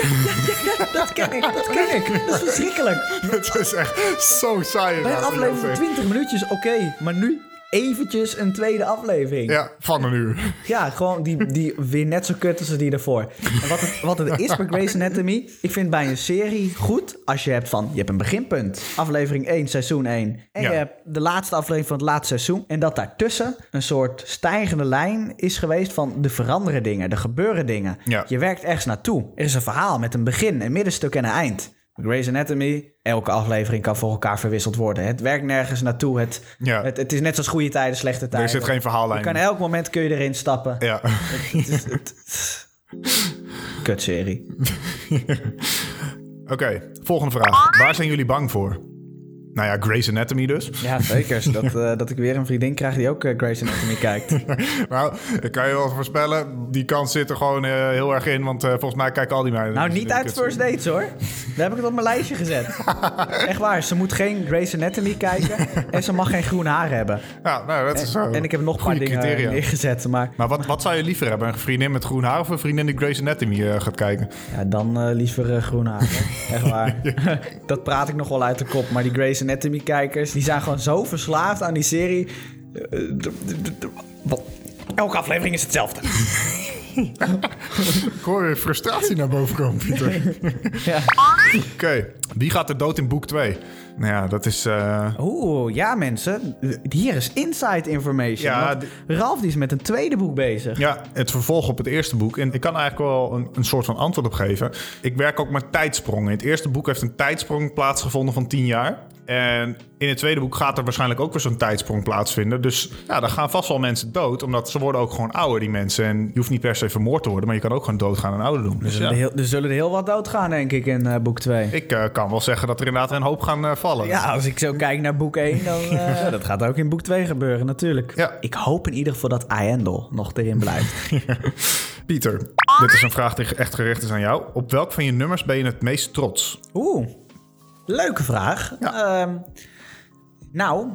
B: Dat ken ik, dat ken ik. Dat is verschrikkelijk.
C: Het is echt zo saai.
B: Bij een
C: inderdaad, moet ik ook
B: aflevering
C: zeggen.
B: 20 minuutjes, oké. maar nu eventjes een tweede aflevering. Ja,
C: Ja, van een uur.
B: gewoon die, die weer net zo kut als die daarvoor. En wat het, wat het is bij Grey's Anatomy... Ik vind bij een serie goed als je hebt van... Je hebt een beginpunt. Aflevering 1, seizoen 1. En
C: Ja.
B: je hebt de laatste aflevering van het laatste seizoen. En dat daartussen een soort stijgende lijn is geweest van... Er veranderen dingen, er gebeuren dingen.
C: Ja.
B: Je werkt ergens naartoe. Er is een verhaal met een begin, een middenstuk en een eind. Grey's Anatomy, elke aflevering kan voor elkaar verwisseld worden. Het werkt nergens naartoe. Het,
C: Ja.
B: het, het is net zoals goede tijden, slechte tijden.
C: Er zit geen
B: Je
C: verhaallijn.
B: kan elk moment kun je erin stappen.
C: Ja.
B: Het is- het- Kutserie.
C: Oké, volgende vraag. Waar zijn jullie bang voor? Nou ja, Grey's Anatomy dus.
B: Ja, zeker. Dat, eh, dat ik weer een vriendin krijg die ook eh, Grey's Anatomy kijkt.
C: Nou, ik kan je wel voorspellen, die kans zit er gewoon eh, heel erg in. Want eh, volgens mij kijken al die meiden...
B: Nou, niet uit First Dates hoor. Daar heb ik het op mijn lijstje gezet. Echt waar, ze moet geen Grey's Anatomy kijken. En ze mag geen groen haar hebben.
C: Ja, nou, dat is eh,
B: En ik heb nog een paar
C: goede
B: dingen eh,
C: criteria.
B: neergezet. Maar
C: Maar wat, wat zou je liever hebben? Een vriendin met groen haar of een vriendin die Grey's Anatomy eh, gaat kijken?
B: Ja, dan eh, liever eh, groen haar. hè. Echt waar. dat praat ik nog wel uit de kop. Maar die Grey's Anatomy-kijkers, die zijn gewoon zo verslaafd aan die serie. Eh, d- d- d- d- wat- Elke aflevering is hetzelfde.
C: Ik hoor weer frustratie naar boven komen, Pieter.
B: ja.
C: Oké, wie gaat er dood in boek 2? Nou ja, dat is... eh,
B: Oeh, ja mensen. Hier is inside information.
C: Ja,
B: Want
C: d-
B: Ralf die is met een tweede boek bezig.
C: Ja, het vervolg op het eerste boek. En ik kan eigenlijk wel een, een soort van antwoord op geven. Ik werk ook met tijdsprongen. In het eerste boek heeft een tijdsprong plaatsgevonden van 10 jaar. En in het tweede boek gaat er waarschijnlijk ook weer zo'n tijdsprong plaatsvinden. Dus ja, daar gaan vast wel mensen dood. Omdat ze worden ook gewoon ouder, die mensen. En je hoeft niet per se vermoord te worden, maar je kan ook gewoon doodgaan en ouderdom. Dus
B: Er zullen
C: ja,
B: heel- Er zullen er heel wat doodgaan, denk ik, in eh, boek 2.
C: ik eh, kan wel zeggen dat er inderdaad een hoop gaan eh, vallen.
B: Ja, als ik zo kijk naar boek 1, dan... eh, dat gaat ook in boek 2 gebeuren, natuurlijk.
C: Ja.
B: Ik hoop in ieder geval dat Aendel nog erin blijft.
C: Pieter, dit is een vraag die echt gericht is aan jou. Op welk van je nummers ben je het meest trots?
B: Oeh, leuke vraag. Ehm, nou,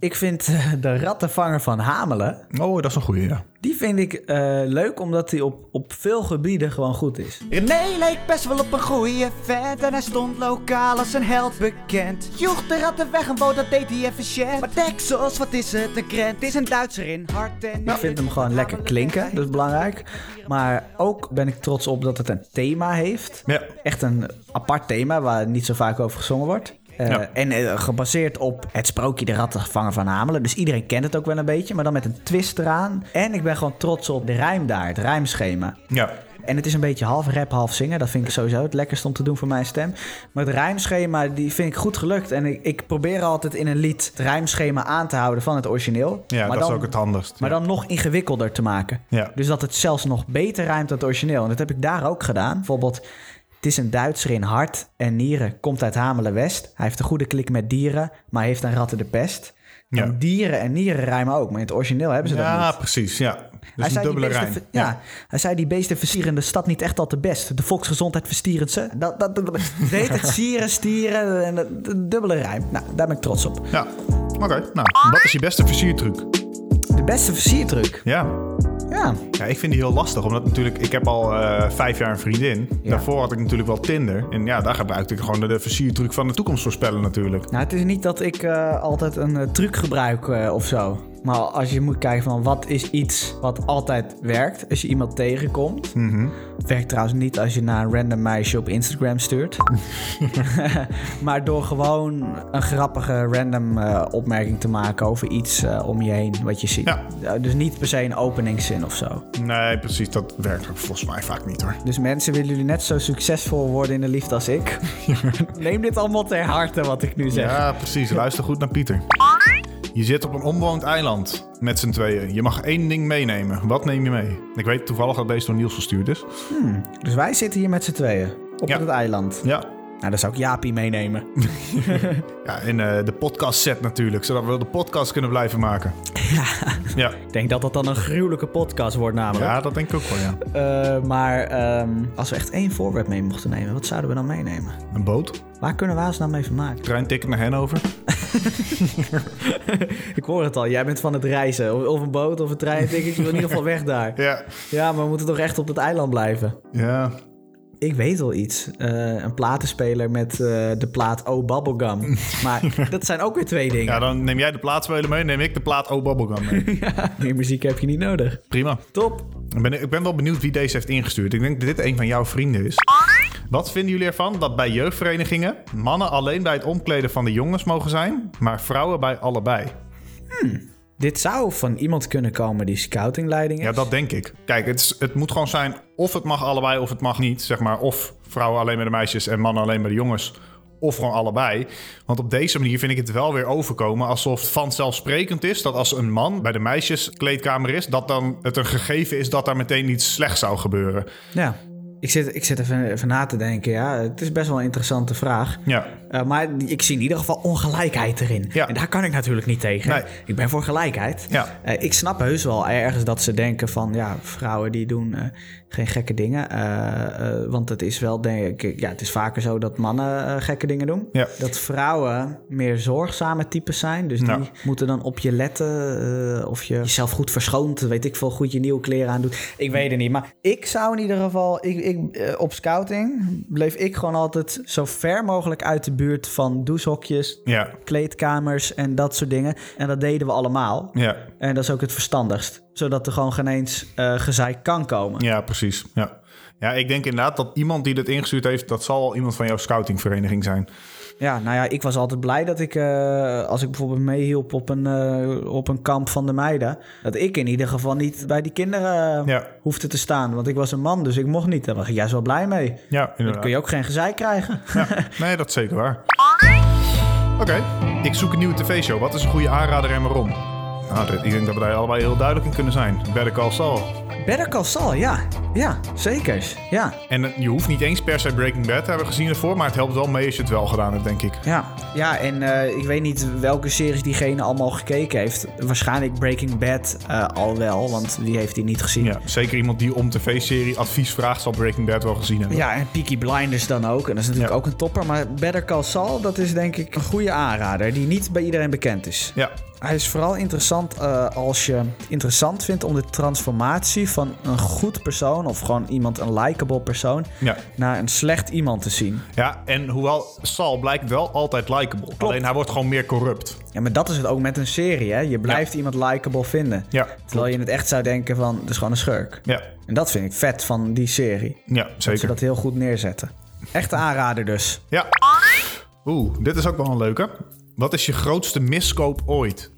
B: ik vind eh, de rattenvanger van Hamelen...
C: Oh, dat is een goede, ja.
B: die vind ik eh, leuk, omdat die op, op veel gebieden gewoon goed is.
F: René leek best wel op een goeie vent En hij stond lokaal als een held bekend Joeg de ratten weg en bood, dat deed hij efficiënt Maar Texas, wat is het een krent Het is een Duitser in hart en
B: Ik vind hem gewoon lekker klinken, dat is belangrijk. Maar ook ben ik trots op dat het een thema heeft.
C: Ja.
B: Echt een apart thema waar niet zo vaak over gezongen wordt. Eh,
C: Ja.
B: En eh, gebaseerd op het sprookje De Rattenvanger van Hamelen. Dus iedereen kent het ook wel een beetje, maar dan met een twist eraan. En ik ben gewoon trots op de rijm daar, het rijmschema.
C: Ja.
B: En het is een beetje half rap, half zingen. Dat vind ik sowieso het lekkerst om te doen voor mijn stem. Maar het rijmschema die vind ik goed gelukt. En ik, ik probeer altijd in een lied het rijmschema aan te houden van het origineel.
C: Ja,
B: maar
C: dat
B: dan,
C: is ook het handigst.
B: Maar
C: Ja.
B: dan nog ingewikkelder te maken.
C: Ja.
B: Dus dat het zelfs nog beter rijmt dan het origineel. En dat heb ik daar ook gedaan. Bijvoorbeeld, het is een Duitser in hart en nieren, komt uit Hamelen-West. Hij heeft een goede klik met dieren, maar heeft aan ratten de pest.
C: Ja.
B: En dieren en nieren rijmen ook, maar in het origineel hebben ze dat niet.
C: Ja, precies. Ja. Dus
B: Hij
C: een
B: zei, die
C: dubbele
B: beesten,
C: rijn.
B: ver- ja. hij zei die beesten versieren de stad niet echt al te best. De volksgezondheid verstieren ze. Dat, dat, dat, dat het heet het sieren, stieren en de, dubbele rijm. Nou, daar ben ik trots op.
C: Ja. Oké, nou, wat is je beste versiertruc?
B: De beste versiertruc.
C: Ja.
B: Ja,
C: ja, ik vind die heel lastig, omdat natuurlijk, ik heb al eh, vijf jaar een vriendin. Daarvoor had ik natuurlijk wel Tinder. En ja, daar gebruikte ik gewoon de, de versiertruc van de toekomst voorspellen natuurlijk.
B: nou het is niet dat ik eh, altijd een eh, truc gebruik eh, of zo. Maar als je moet kijken van wat is iets wat altijd werkt als je iemand tegenkomt.
C: Mhm.
B: Werkt trouwens niet als je naar een random meisje op Instagram stuurt. maar door gewoon een grappige random eh, opmerking te maken over iets eh, om je heen wat je ziet.
C: Ja.
B: Eh, dus niet per se een openingszin of zo.
C: Nee, precies, dat werkt ook volgens mij vaak niet hoor.
B: Dus mensen, willen jullie net zo succesvol worden in de liefde als ik? Neem dit allemaal ter harte wat ik nu zeg.
C: Ja, precies. Luister goed naar Pieter. Je zit op een onbewoond eiland met z'n tweeën. Je mag één ding meenemen. Wat neem je mee? Ik weet toevallig dat deze door Niels gestuurd is.
B: Dus wij zitten hier met z'n tweeën op
C: Ja.
B: het eiland.
C: Ja,
B: Nou, dan zou ik Jaapie meenemen.
C: Ja, en eh, de podcast set natuurlijk, zodat we de podcast kunnen blijven maken. Ja.
B: Ik denk dat dat dan een gruwelijke podcast wordt
C: Ja,
B: namelijk.
C: dat denk ik ook wel, ja.
B: Eh, maar ehm, als we echt één voorwerp mee mochten nemen, wat zouden we dan meenemen?
C: Een boot,
B: Waar kunnen we ons nou mee vermaken?
C: treinticket naar Hannover.
B: Ik hoor het al, jij bent van het reizen. Of, of een boot of een trein, denk ik. Je wil in ieder geval weg daar.
C: Ja.
B: Ja, maar we moeten toch echt op dat eiland blijven?
C: Ja.
B: Ik weet wel iets. Eh, een platenspeler met eh, de plaat Oh Bubblegum. Maar dat zijn ook weer twee dingen.
C: Ja, dan neem jij de plaatspeler mee, neem ik de plaat O Bubblegum mee.
B: Meer muziek heb je niet nodig.
C: Prima.
B: Top.
C: Ik ben, ik ben wel benieuwd wie deze heeft ingestuurd. Ik denk dat dit een van jouw vrienden is. Wat vinden jullie ervan dat bij jeugdverenigingen mannen alleen bij het omkleden van de jongens mogen zijn, maar vrouwen bij allebei?
B: Dit zou van iemand kunnen komen die scoutingleiding is.
C: Ja, dat denk ik. Kijk, het, is- het moet gewoon zijn of het mag allebei of het mag niet. Zeg maar, of vrouwen alleen bij de meisjes en mannen alleen bij de jongens. Of gewoon allebei. Want op deze manier vind ik het wel weer overkomen alsof het vanzelfsprekend is dat als een man bij de meisjeskleedkamer is, dat dan het een gegeven is dat daar meteen iets slechts zou gebeuren.
B: Ja. Ik zit, ik zit even, even na te denken, ja. Het is best wel een interessante vraag.
C: Ja,
B: Eh, maar ik zie in ieder geval ongelijkheid erin.
C: Ja.
B: En daar kan ik natuurlijk niet tegen.
C: Nee.
B: Ik ben voor gelijkheid.
C: Ja.
B: Eh, ik snap heus wel ergens dat ze denken van... ja, vrouwen die doen eh, geen gekke dingen. Eh, eh, want het is wel, denk ik... ja, het is vaker zo dat mannen eh, gekke dingen doen.
C: Ja.
B: Dat vrouwen meer zorgzame types zijn. Dus die
C: Ja.
B: moeten dan op je letten. eh, of je jezelf goed verschoont. Weet ik veel, goed je nieuwe kleren aandoet. Ik weet het niet. Maar ik zou in ieder geval... Ik, ik, eh, op scouting bleef ik gewoon altijd zo ver mogelijk uit de buurt van douchehokjes...
C: ja,
B: kleedkamers en dat soort dingen. En dat deden we allemaal.
C: ja,
B: En dat is ook het verstandigst. Zodat er gewoon geen eens eh gezeik kan komen.
C: ja, precies. Ja. ja, ik denk inderdaad dat iemand die dit ingestuurd heeft, dat zal wel iemand van jouw scoutingvereniging zijn.
B: Ja, nou ja, ik was altijd blij dat ik, eh, als ik bijvoorbeeld meehielp op een, eh, op een kamp van de meiden, dat ik in ieder geval niet bij die kinderen eh,
C: Ja.
B: hoefde te staan. Want ik was een man, dus ik mocht niet. Daar was ik juist wel blij mee.
C: Ja,
B: Dan kun
C: inderdaad.
B: je ook geen gezeik krijgen.
C: Nee, dat is zeker waar. Oké, ik zoek een nieuwe tv-show. Wat is een goede aanrader en waarom? Nou, dat- ik denk dat we daar allebei heel duidelijk in kunnen zijn. Better Call Saul.
B: Better Call Saul, ja. Ja, zeker. Ja,
C: En eh, je hoeft niet eens per se Breaking Bad te hebben gezien ervoor, maar het helpt wel mee als je het wel gedaan hebt, denk ik.
B: Ja, ja en eh, ik weet niet welke series diegene allemaal gekeken heeft. Waarschijnlijk Breaking Bad eh, al wel, want wie heeft die niet gezien?
C: Ja, zeker iemand die om tv-serie advies vraagt, zal Breaking Bad wel gezien hebben.
B: Ja, en Peaky Blinders dan ook. En dat is natuurlijk
C: Ja.
B: ook een topper. Maar Better Call Saul, dat is denk ik een goede aanrader... die niet bij iedereen bekend is.
C: Ja,
B: Hij is vooral interessant eh, als je het interessant vindt... om de transformatie van een goed persoon... of gewoon iemand, een likable persoon...
C: ja.
B: naar een slecht iemand te zien.
C: ja en hoewel Saul blijkt wel altijd likable. Alleen hij wordt gewoon meer corrupt.
B: Ja, maar dat is het ook met een serie, hè? Je blijft iemand likable vinden.
C: Ja,
B: Terwijl je in het echt zou denken van, dat is gewoon een schurk.
C: Ja,
B: En dat vind ik vet van die serie.
C: ja
B: Dat ze
C: zeker.
B: dat heel goed neerzetten. Echte aanrader dus.
C: Ja. Oeh, dit is ook wel een leuke. Wat is je grootste miskoop ooit?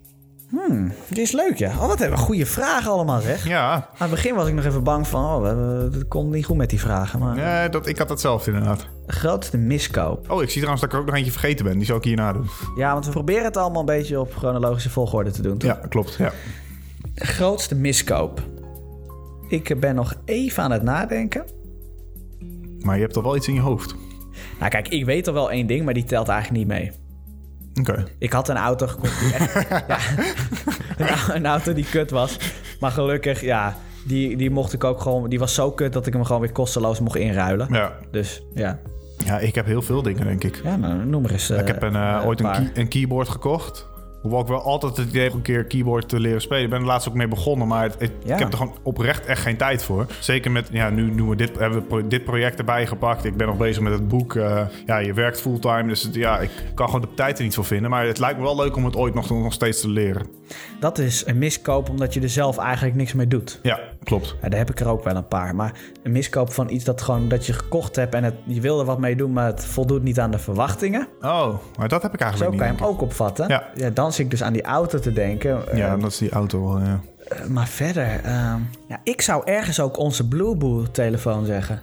B: Die is leuk, ja. Oh, wat hebben we goede vragen allemaal, zeg.
C: Ja,
B: Aan het begin was ik nog even bang van, oh, we hebben- het komt niet goed met die vragen. Maar
C: eh, dat, ik had dat zelf inderdaad.
B: grootste miskoop.
C: Oh, ik zie trouwens dat ik er ook nog eentje vergeten ben. Die zal ik hierna doen.
B: Ja, want we proberen het allemaal een beetje op chronologische volgorde te doen. toch?
C: Ja, klopt. Ja.
B: Grootste miskoop. Ik ben nog even aan het nadenken.
C: Maar je hebt al wel iets in je hoofd.
B: Nou kijk, ik weet al wel één ding, maar die telt eigenlijk niet mee.
C: Oké.
B: Ik had een auto gekocht die echt- ja, een au- een auto die kut was. Maar gelukkig, ja, die, die mocht ik ook gewoon... Die was zo kut dat ik hem gewoon weer kosteloos mocht inruilen.
C: Ja.
B: Dus ja.
C: ja, ik heb heel veel dingen, denk ik.
B: Ja, nou, noem maar eens.
C: ik heb een, eh, ooit een,
B: paar.
C: key- een keyboard gekocht. Hoewel ik wel altijd het idee heb om een keer keyboard te leren spelen. Ik ben er laatst ook mee begonnen, maar het- het-
B: Ja.
C: ik heb er gewoon oprecht echt geen tijd voor. Zeker met, ja, nu doen we dit, hebben we pro- dit project erbij gepakt. Ik ben nog bezig met het boek. eh, ja, je werkt fulltime, dus het- ja, ik kan gewoon de tijd er niet voor vinden. Maar het lijkt me wel leuk om het ooit nog, nog steeds te leren.
B: Dat is een miskoop omdat je er zelf eigenlijk niks mee doet.
C: Ja, klopt.
B: Ja, daar heb ik er ook wel een paar. Maar een miskoop van iets dat, gewoon, dat je gekocht hebt en het, je wil er wat mee doen, maar het voldoet niet aan de verwachtingen.
C: Oh, maar dat heb ik
B: Zo
C: eigenlijk
B: kan
C: niet.
B: je
C: denk
B: hem
C: ik.
B: ook opvatten.
C: Ja.
B: dan zit ik dus aan die auto te denken. Eh,
C: Ja, dat is die auto wel, ja.
B: eh, maar verder, ehm, ja, ik zou ergens ook onze Blueboo-telefoon zeggen.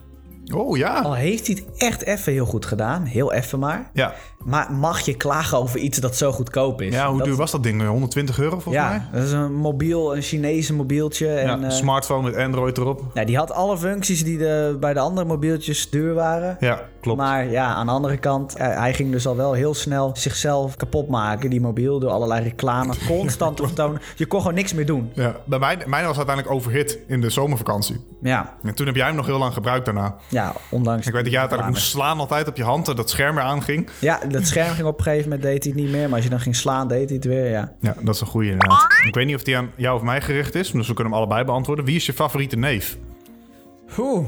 C: Oh ja.
B: Al heeft hij het echt even heel goed gedaan, heel even maar.
C: Ja,
B: Maar mag je klagen over iets dat zo goedkoop is?
C: ja hoe
B: dat,
C: duur was dat ding? 120 euro volgens mij?
B: Ja, dat is een mobiel, een Chinese mobieltje.
C: Ja,
B: En, eh,
C: smartphone met Android erop.
B: nou, die had alle functies die de, bij de andere mobieltjes duur waren.
C: Ja, klopt.
B: Maar ja, aan de andere kant, eh, hij ging dus al wel heel snel zichzelf kapot maken, die mobiel, door allerlei reclame constant te vertonen. Je kon gewoon niks meer doen.
C: Ja, bij mij, mijn was uiteindelijk overhit in de zomervakantie.
B: Ja,
C: En toen heb jij hem nog heel lang gebruikt daarna.
B: ja ondanks...
C: Ik weet dat jij uiteindelijk moest slaan altijd op je hand en dat scherm weer aanging.
B: Ja, dat scherm ging op een gegeven moment, deed hij het niet meer. Maar als je dan ging slaan, deed hij het weer, ja.
C: Ja, dat is een goede inderdaad. Ik weet niet of die aan jou of mij gericht is, dus we kunnen hem allebei beantwoorden. Wie is je favoriete neef?
B: Oeh.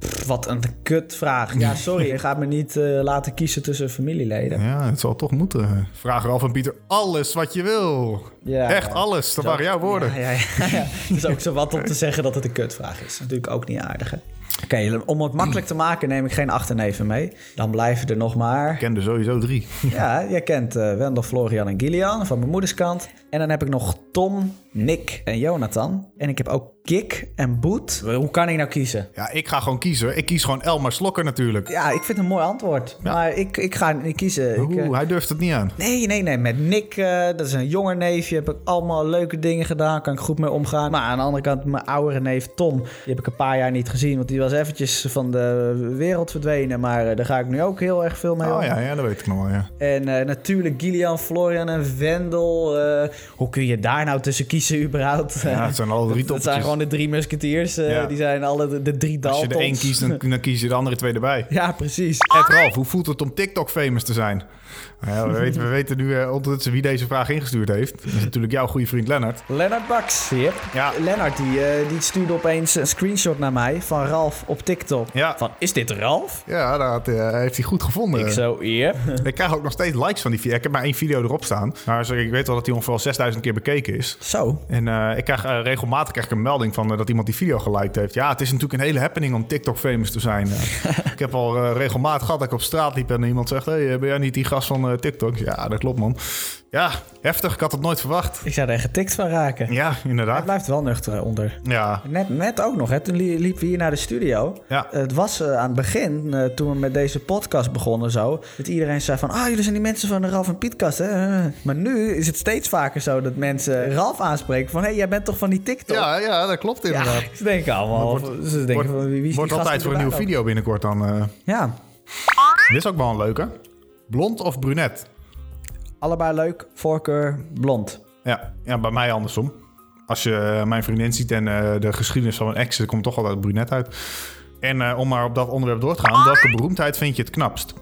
B: Pff, wat een kutvraag. Ja, sorry, je gaat me niet eh, laten kiezen tussen familieleden.
C: Ja, het zal toch moeten. Vraag Ralf en Pieter alles wat je wil.
B: Ja.
C: Echt alles. Dat waren jouw woorden.
B: Ja, ja, ja, ja. Het is ook zo wat om te zeggen dat het een kutvraag is. Natuurlijk ook niet aardig, hè? Oké, om het makkelijk te maken neem ik geen achterneven mee. Dan blijven er nog maar...
C: Ik kende sowieso drie.
B: Ja, jij kent eh, Wendel, Florian en Gillian van mijn moeders kant. En dan heb ik nog Tom, Nick en Jonathan. En ik heb ook Kik en Boet. Hoe kan ik nou kiezen?
C: Ja, ik ga gewoon kiezen. Ik kies gewoon Elmer Slokker natuurlijk.
B: Ja, ik vind het een mooi antwoord. Maar ik, ik ga niet kiezen. Ik, eh,
C: Oeh, hij durft het niet aan.
B: Nee, nee, nee. Met Nick, eh, dat is een jonger neefje, heb ik allemaal leuke dingen gedaan. Kan ik goed mee omgaan. Maar aan de andere kant, mijn oudere neef Tom, die heb ik een paar jaar niet gezien. Want die was eventjes van de wereld verdwenen. Maar eh, daar ga ik nu ook heel erg veel mee om.
C: Oh ja, ja, dat weet ik nog wel, ja.
B: En eh, natuurlijk Gillian, Florian en Wendel. eh, hoe kun je daar nou tussen kiezen überhaupt?
C: Ja, het zijn alle drie
B: dat zijn
C: toppetjes.
B: gewoon de drie musketiers. eh,
C: Ja.
B: Die zijn alle de, de drie
C: Als je
B: Daltons.
C: er één kiest, dan, dan kies je de andere twee erbij.
B: Ja, precies.
C: Ed Ralf, hoe voelt het om TikTok-famous te zijn? Nou ja, we, weten, we weten nu eh, ondertussen wie deze vraag ingestuurd heeft. Dat is natuurlijk jouw goede vriend Lennart.
B: Lennart Baks, zie je?
C: Ja.
B: Lennart die, eh, die stuurde opeens een screenshot naar mij van Ralf op TikTok.
C: Ja.
B: Van, is dit Ralf?
C: Ja, dat had, eh, heeft hij goed gevonden.
B: Ik
C: Ik,
B: zo, ja.
C: krijg ook nog steeds likes van die video. Ik heb maar één video erop staan. Maar zo- ik weet wel dat die ongeveer 6000 keer bekeken is.
B: Zo.
C: En eh, ik krijg eh, regelmatig krijg ik een melding van eh, dat iemand die video geliked heeft. Ja, het is natuurlijk een hele happening om TikTok famous te zijn. Eh, ik heb al eh, regelmatig gehad dat ik op straat liep en iemand zegt... hey, eh, ben jij niet die gast van eh, TikTok? Ja, dat klopt man. Ja, heftig. Ik had het nooit verwacht.
B: Ik zou er getikt van raken.
C: Ja,
B: Hij
C: inderdaad.
B: blijft wel nuchter eh, onder.
C: Ja,
B: Net, net ook nog, hè. toen li- liepen we hier naar de studio.
C: Ja.
B: Het was eh, aan het begin, eh, toen we met deze podcast begonnen zo... dat iedereen zei van, ah, jullie zijn die mensen van de Ralf en Pietkast, hè. eh." Maar nu is het steeds vaker zo dat mensen Ralf aanspreken van... hé, hey, jij bent toch van die TikTok?
C: ja, ja, dat klopt
B: Ja,
C: inderdaad.
B: ze denken allemaal. ze denken
C: Wordt,
B: van, wie- wie is
C: wordt
B: die gast
C: altijd
B: die
C: voor een nieuwe
B: erbij
C: video binnenkort dan. eh.
B: loopt? Ja,
C: Dit is ook wel een leuke. Blond of brunet?
B: Allebei leuk, voorkeur blond.
C: Ja, ja bij mij andersom. Als je eh, mijn vriendin ziet en eh, de geschiedenis van mijn ex, er komt toch altijd brunet uit. En eh, om maar op dat onderwerp door te
B: Ah.
C: gaan, welke beroemdheid vind je het knapst?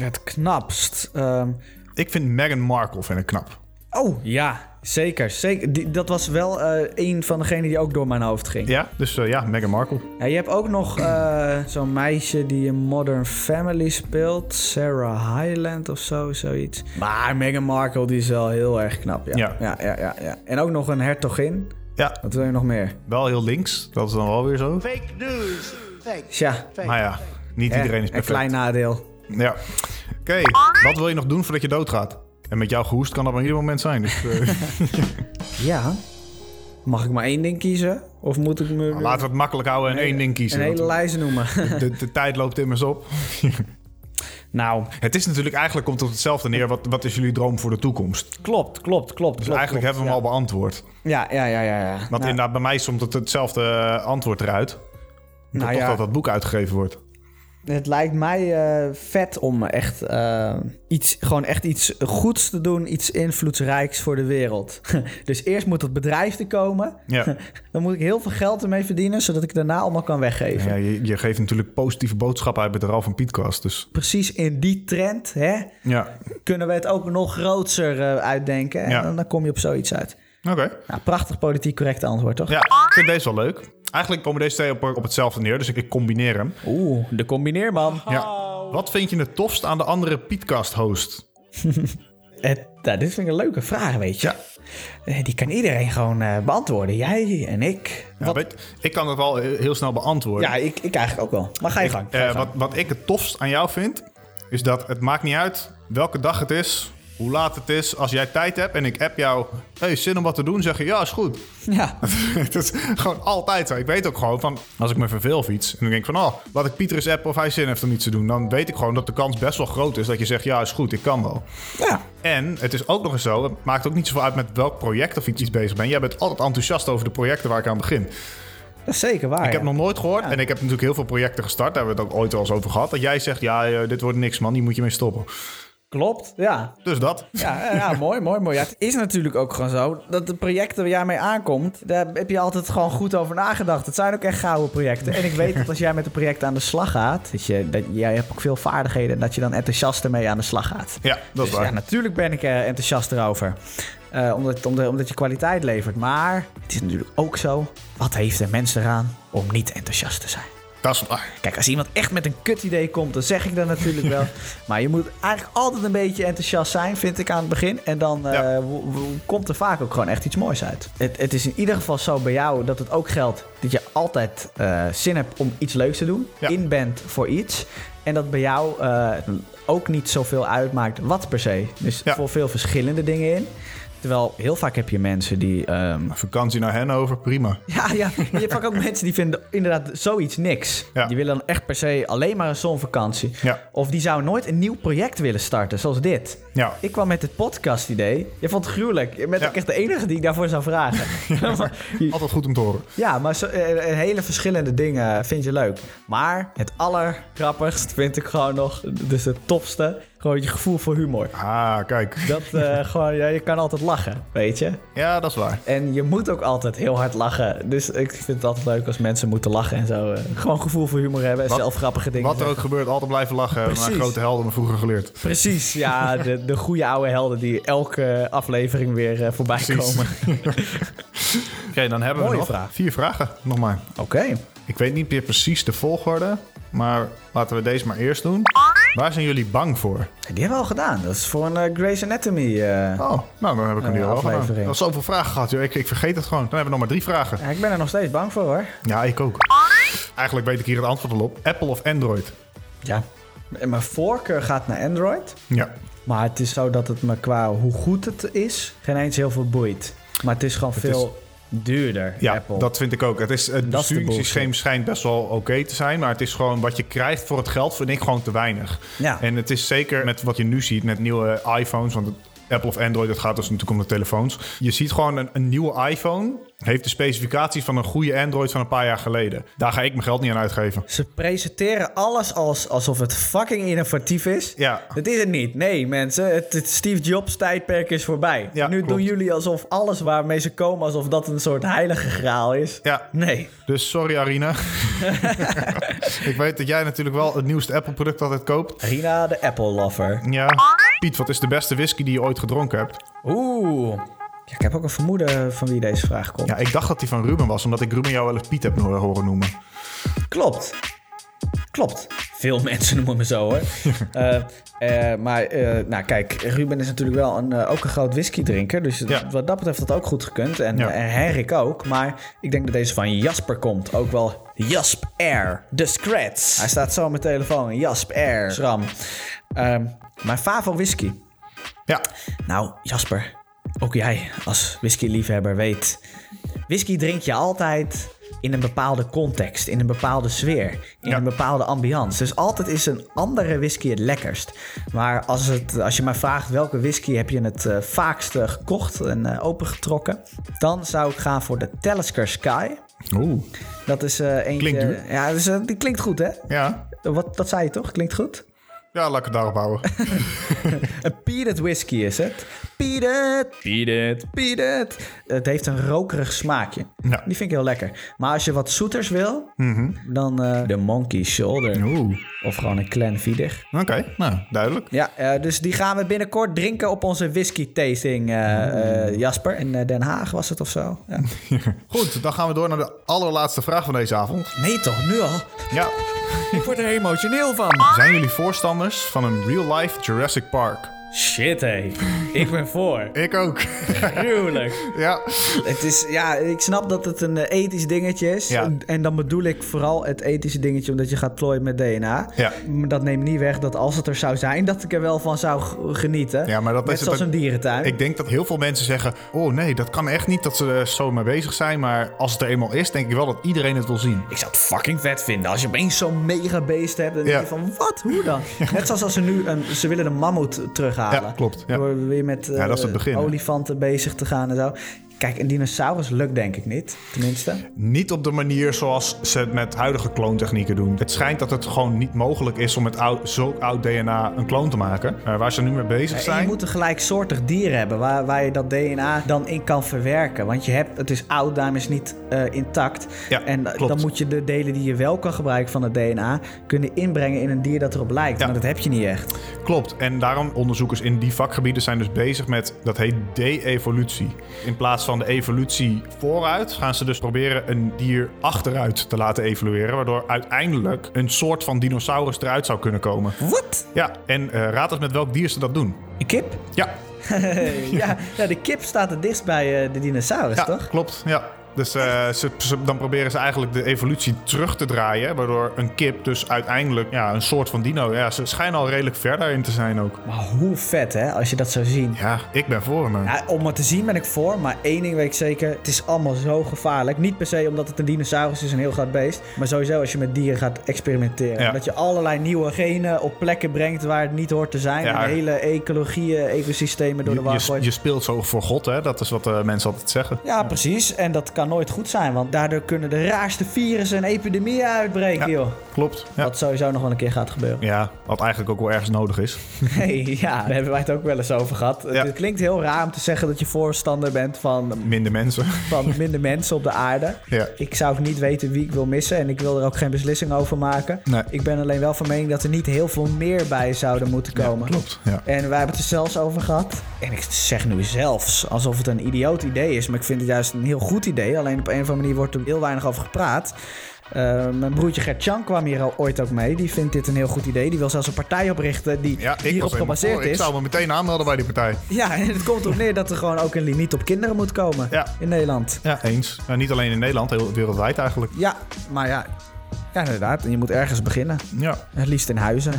B: Het knapst. ehm,
C: Ik vind Meghan Markle vind ik knap.
B: oh ja, zeker. zeker. Die- dat was wel eh, een van degenen die ook door mijn hoofd ging.
C: Ja, dus eh, ja, Meghan Markle.
B: Ja, je hebt ook nog eh, zo'n meisje die in Modern Family speelt. Sarah Highland of zo, zoiets. Maar Meghan Markle die is wel heel erg knap. Ja.
C: Ja.
B: Ja, ja, ja, ja. En ook nog een hertogin.
C: Ja,
B: Wat wil je nog meer?
C: wel heel links. Dat is dan wel weer zo.
B: Tja,
C: Maar ja, niet
B: hè,
C: iedereen is
B: een
C: perfect.
B: klein nadeel.
C: Ja. Oké, wat wil je nog doen voordat je doodgaat? En met jou gehoest kan dat maar ieder moment zijn. Dus, eh,
B: Ja. Mag ik maar één ding kiezen? Of moet ik me
C: Nou, laten we het makkelijk houden en
B: Nee,
C: één ding
B: een
C: kiezen.
B: hele lijst noemen?
C: Want de, de tijd loopt immers op.
B: nou,
C: Het is natuurlijk eigenlijk komt het op hetzelfde neer. Wat, wat is jullie droom voor de toekomst? Dus
B: klopt, klopt, klopt. klopt
C: eigenlijk
B: klopt,
C: hebben we hem al beantwoord.
B: ja. Ja, ja, ja, ja. ja.
C: Want
B: Nou,
C: inderdaad, bij mij somt het hetzelfde eh, antwoord eruit.
B: nou
C: toch
B: ja,
C: dat dat boek uitgegeven wordt.
B: Het lijkt mij eh, vet om echt, eh, iets, gewoon echt iets goeds te doen, iets invloedsrijks voor de wereld. dus eerst moet dat bedrijf er komen.
C: Ja.
B: Dan moet ik heel veel geld ermee verdienen, zodat ik daarna allemaal kan weggeven.
C: Ja, je, je geeft natuurlijk positieve boodschappen uit met de Ralf en Pietkast. Dus
B: Precies in die trend hè,
C: ja,
B: kunnen we het ook nog groter eh, uitdenken. En
C: Ja.
B: dan, dan kom je op zoiets uit.
C: oké.
B: Nou, prachtig politiek correct antwoord, toch?
C: Ja, ik vind deze wel leuk. Eigenlijk komen deze twee op, op hetzelfde neer, dus ik, ik combineer hem.
D: Oeh, de combineerman.
C: Ja.
B: Oh.
C: Wat vind je het tofst aan de andere Pietkast-host?
B: Het- nou, dit vind ik een leuke vraag, weet je.
C: Ja.
B: Eh, Die kan iedereen gewoon eh, beantwoorden. Jij en ik.
C: Ja,
B: Wat-
C: weet- ik kan dat wel eh, heel snel beantwoorden.
B: ja, ik, ik eigenlijk ook wel. Maar ga je gang. ga je
C: Eh,
B: gang.
C: wat, wat ik het tofst aan jou vind, is dat het maakt niet uit welke dag het is, hoe laat het is. Als jij tijd hebt en ik app jou, hey, zin om wat te doen, zeg je ja, is goed.
B: Ja,
C: het is gewoon altijd zo. Ik weet ook gewoon van, als ik me verveel of iets, en dan denk ik van, oh, laat ik Pieter eens appen of hij zin heeft om iets te doen. Dan weet ik gewoon dat de kans best wel groot is dat je zegt, ja, is goed, ik kan wel.
B: ja.
C: En het is ook nog eens zo, het maakt ook niet zoveel uit met welk project of iets, iets bezig bent. Jij bent altijd enthousiast over de projecten waar ik aan begin.
B: dat is zeker waar.
C: Ik
B: ja.
C: heb nog nooit gehoord, en ik heb natuurlijk heel veel projecten gestart, daar hebben we het ook ooit wel eens over gehad, dat jij zegt, ja, eh, dit wordt niks man, hier moet je mee stoppen.
B: Klopt, ja.
C: Dus dat.
B: Ja, eh, ja mooi, mooi, mooi. Ja, het is natuurlijk ook gewoon zo dat de projecten waar jij mee aankomt, daar heb je altijd gewoon goed over nagedacht. Het zijn ook echt gouden projecten. En ik weet dat als jij met een project aan de slag gaat, dat, je, dat jij hebt ook veel vaardigheden en dat je dan enthousiast ermee aan de slag gaat.
C: Ja, dat is
B: Dus
C: waar.
B: ja, natuurlijk ben ik eh, enthousiast erover. Eh, omdat, omdat, omdat je kwaliteit levert. Maar het is natuurlijk ook zo, wat heeft een mens eraan om niet enthousiast te zijn?
C: Dat is ah, waar.
B: Kijk, als iemand echt met een kut idee komt, dan zeg ik dat natuurlijk wel. Maar je moet eigenlijk altijd een beetje enthousiast zijn, vind ik aan het begin. En dan eh,
C: Ja.
B: wo- wo- komt er vaak ook gewoon echt iets moois uit. Het, het is in ieder geval zo bij jou dat het ook geldt dat je altijd eh, zin hebt om iets leuks te doen.
C: Ja.
B: In bent voor iets. En dat bij jou eh, ook niet zoveel uitmaakt wat per se. Dus
C: Ja.
B: voor veel verschillende dingen in. Terwijl heel vaak heb je mensen die ehm,
C: Vakantie naar Hannover, prima.
B: ja, ja, je hebt vaak ook mensen die vinden inderdaad zoiets niks.
C: Ja.
B: Die willen dan echt per se alleen maar een zonvakantie.
C: Ja.
B: Of die zou nooit een nieuw project willen starten, zoals dit.
C: Ja.
B: Ik kwam met het podcast idee. Je vond het gruwelijk. Je bent
C: Ja.
B: ook echt de enige die ik daarvoor zou vragen. Ja, maar,
C: Altijd goed om te horen.
B: ja, maar zo, eh, eh, hele verschillende dingen vind je leuk. Maar het allergrappigst vind ik gewoon nog, dus het topste, gewoon je gevoel voor humor.
C: Ah, kijk.
B: Dat eh, gewoon, ja, je kan altijd lachen, weet je.
C: Ja, dat is waar.
B: En je moet ook altijd heel hard lachen. Dus ik vind het altijd leuk als mensen moeten lachen en zo. eh, gewoon gevoel voor humor hebben en
C: Wat-
B: zelf grappige dingen
C: Wat er ook gebeurt, altijd blijven lachen. Mijn
B: Precies.
C: grote helden me vroeger geleerd.
B: Precies, ja. De, de goede oude helden die elke aflevering weer eh, voorbij
C: Precies.
B: komen.
C: Oké, dan hebben
B: Mooie
C: we nog
B: vraag.
C: vier vragen. Nog maar.
B: Oké.
C: Ik weet niet meer precies de volgorde, maar laten we deze maar eerst doen. Waar zijn jullie bang voor?
B: Die hebben we al gedaan. Dat is voor een eh, Grey's Anatomy. eh.
C: Oh, nou, dan heb ik hem
B: Eh,
C: nu al
B: aflevering.
C: gedaan. Dat zoveel vragen gehad, joh. Ik, ik vergeet het gewoon. Dan hebben we nog maar drie vragen.
B: Ja, ik ben er nog steeds bang voor hoor.
C: Ja, ik ook. Eigenlijk weet ik hier het antwoord al op. Apple of Android?
B: Ja. M- Mijn voorkeur gaat naar Android.
C: Ja.
B: Maar het is zo dat het me qua hoe goed het is, geen eens heel veel boeit. Maar het is gewoon veel duurder,
C: Ja,
B: Apple.
C: dat vind ik ook. Het, is, het
B: Dat is de
C: besturingssysteem
B: bullshit.
C: schijnt best wel oké te zijn. Maar het is gewoon wat je krijgt voor het geld, vind ik gewoon te weinig.
B: Ja.
C: En het is zeker met wat je nu ziet met nieuwe iPhones. Want het- Apple of Android, dat gaat dus natuurlijk om de telefoons. Je ziet gewoon een, een nieuwe iPhone. Heeft de specificaties van een goede Android van een paar jaar geleden. Daar ga ik mijn geld niet aan uitgeven.
B: Ze presenteren alles als, alsof het fucking innovatief is.
C: Ja.
B: Dat is het niet. Nee, mensen. Het, het Steve Jobs tijdperk is voorbij.
C: Ja,
B: nu
C: klopt.
B: doen jullie alsof alles waarmee ze komen, alsof dat een soort heilige graal is.
C: Ja.
B: Nee.
C: Dus sorry, Arina. ik weet dat jij natuurlijk wel het nieuwste Apple-product altijd koopt.
B: Rina, de Apple lover.
C: Ja. Piet, wat is de beste whisky die je ooit gedronken hebt?
B: Oeh. Ja, ik heb ook een vermoeden van wie deze vraag komt.
C: Ja, ik dacht dat die van Ruben was, omdat ik Ruben jou wel eens Piet heb horen noemen.
B: Klopt. Klopt. Veel mensen noemen me zo hoor. Eh, eh, maar eh, nou kijk, Ruben is natuurlijk wel een, eh, ook een groot whiskydrinker. Dus
C: Ja.
B: wat dat betreft had dat ook goed gekund. En,
C: Ja.
B: en Henrik ook. Maar ik denk dat deze van Jasper komt. Ook wel Jasp Air. De Scrats. Hij staat zo op mijn telefoon. Jasp Air. Schram. Ehm, mijn favo whisky.
C: Ja,
B: Nou, Jasper, ook jij als whiskyliefhebber weet. Whisky drink je altijd in een bepaalde context, in een bepaalde sfeer, in
C: Ja.
B: een bepaalde ambiance. Dus altijd is een andere whisky het lekkerst. Maar als, het, als je mij vraagt welke whisky heb je het eh, vaakst eh, gekocht en eh, opengetrokken, dan zou ik gaan voor de Talisker Sky.
C: Oeh.
B: Dat is eh eentje.
C: Klinkt duur.
B: Ja, dus, eh, die klinkt goed, hè?
C: ja.
B: Wat, dat zei je toch? Klinkt goed?
C: Ja, laat ik het daarop houden.
B: Een peated whisky is het. Peated,
D: Beat it.
B: Beat it. Het heeft een rokerig smaakje.
C: Ja.
B: Die vind ik heel lekker. Maar als je wat zoeters wil,
D: Mhm.
B: dan eh, de Monkey Shoulder.
C: Oeh.
B: Of gewoon een Clanfiddich.
C: Oké, nou, duidelijk.
B: Ja, eh, dus die gaan we binnenkort drinken op onze whisky tasting, eh, eh, Jasper. In eh, Den Haag was het of zo. Ja.
C: Goed, dan gaan we door naar de allerlaatste vraag van deze avond.
B: Nee toch, nu al?
C: Ja.
D: Ik word er emotioneel van.
C: Zijn jullie voorstanders van een real-life Jurassic Park?
D: Shit, hé. Ik ben voor.
C: Ik ook.
D: Gruwelijk.
C: ja.
B: Het is, ja, ik snap dat het een eh, ethisch dingetje is.
C: Ja.
B: En dan bedoel ik vooral het ethische dingetje omdat je gaat plooien met DNA.
C: Ja.
B: Maar dat neemt niet weg dat als het er zou zijn, dat ik er wel van zou g- genieten.
C: Ja, maar dat
B: Net
C: is het
B: zoals
C: ook-
B: een dierentuin.
C: Ik denk dat heel veel mensen zeggen: Oh nee, dat kan echt niet dat ze er zo mee bezig zijn. Maar als het er eenmaal is, denk ik wel dat iedereen het wil zien.
D: Ik zou het fucking vet vinden als je
B: opeens zo'n mega beest hebt. Dan
C: Ja.
B: denk je van, wat? Hoe dan? Net zoals als ze nu een, ze willen een mammoet terughalen.
C: Ja, klopt, ja.
B: Door weer met eh,
C: Ja, dat is het begin, hè?
B: olifanten bezig te gaan en zo. Kijk, een dinosaurus lukt denk ik niet. Tenminste.
C: Niet op de manier zoals ze het met huidige kloontechnieken doen. Het schijnt dat het gewoon niet mogelijk is om met oud, zulk oud DNA een kloon te maken. Eh, waar ze nu mee bezig
B: En je
C: zijn.
B: moet een gelijksoortig dier hebben waar, waar je dat DNA dan in kan verwerken. Want je hebt, het is oud, daarom is het niet eh, intact.
C: Ja,
B: en
C: klopt.
B: dan moet je de delen die je wel kan gebruiken van het DNA... kunnen inbrengen in een dier dat erop lijkt.
C: Ja.
B: Maar dat heb je niet echt.
C: Klopt. En daarom onderzoekers in die vakgebieden zijn dus bezig met dat heet de-evolutie. In plaats van de evolutie vooruit gaan ze dus proberen een dier achteruit te laten evolueren, waardoor uiteindelijk een soort van dinosaurus eruit zou kunnen komen.
B: Wat?
C: Ja. En eh, raad eens met welk dier ze dat doen.
B: Een kip?
C: Ja.
B: ja, ja, de kip staat het dichtst bij eh, de dinosaurus,
C: Ja,
B: toch?
C: klopt. Ja. Dus eh, ze, ze- dan proberen ze eigenlijk de evolutie terug te draaien, waardoor een kip dus uiteindelijk ja, een soort van dino. Ja, ze schijnen al redelijk ver daarin te zijn ook.
B: Maar hoe vet, hè, als je dat zou zien.
C: Ja, ik ben voor hem.
B: Ja, Nou, om het te zien ben ik voor, maar één ding weet ik zeker: het is allemaal zo gevaarlijk. Niet per se omdat het een dinosaurus is, een heel groot beest, maar sowieso als je met dieren gaat experimenteren.
C: Ja.
B: Dat je allerlei nieuwe genen op plekken brengt waar het niet hoort te zijn.
C: Ja.
B: En hele ecologieën, ecosystemen door de
C: Je,
B: war
C: je,
B: gooit.
C: je speelt zo voor God, hè? Dat is wat eh, mensen altijd zeggen.
B: Ja, precies. En dat kan nooit goed zijn, want daardoor kunnen de raarste virussen en epidemieën uitbreken, joh.
C: Klopt. Ja.
B: Wat sowieso nog wel een keer gaat gebeuren.
C: ja, wat eigenlijk ook wel ergens nodig is.
B: Hey, ja, daar hebben wij het ook wel eens over gehad.
C: Ja.
B: Het klinkt heel raar om te zeggen dat je voorstander bent van,
C: Minder mensen.
B: van minder mensen op de aarde.
C: Ja.
B: Ik zou ook niet weten wie ik wil missen en ik wil er ook geen beslissing over maken.
C: Nee.
B: Ik ben alleen wel van mening dat er niet heel veel meer bij zouden moeten komen.
C: Klopt. Ja.
B: En wij hebben het er zelfs over gehad. En ik zeg nu zelfs alsof het een idioot idee is. Maar ik vind het juist een heel goed idee. Alleen op een of andere manier wordt er heel weinig over gepraat. Eh, mijn broertje Gert-Jan kwam hier al ooit ook mee. Die vindt dit een heel goed idee. Die wil zelfs een partij oprichten die
C: Ja, ik was
B: hierop
C: helemaal
B: gebaseerd
C: voor.
B: is.
C: Ik zou me meteen aanmelden bij die partij.
B: Ja, en het komt erop neer dat er gewoon ook een limiet op kinderen moet komen
C: Ja.
B: in Nederland.
C: Ja, eens. En niet alleen in Nederland, heel wereldwijd eigenlijk.
B: Ja, maar ja. Ja, inderdaad. En je moet ergens beginnen.
C: Ja.
B: Het liefst in huizen.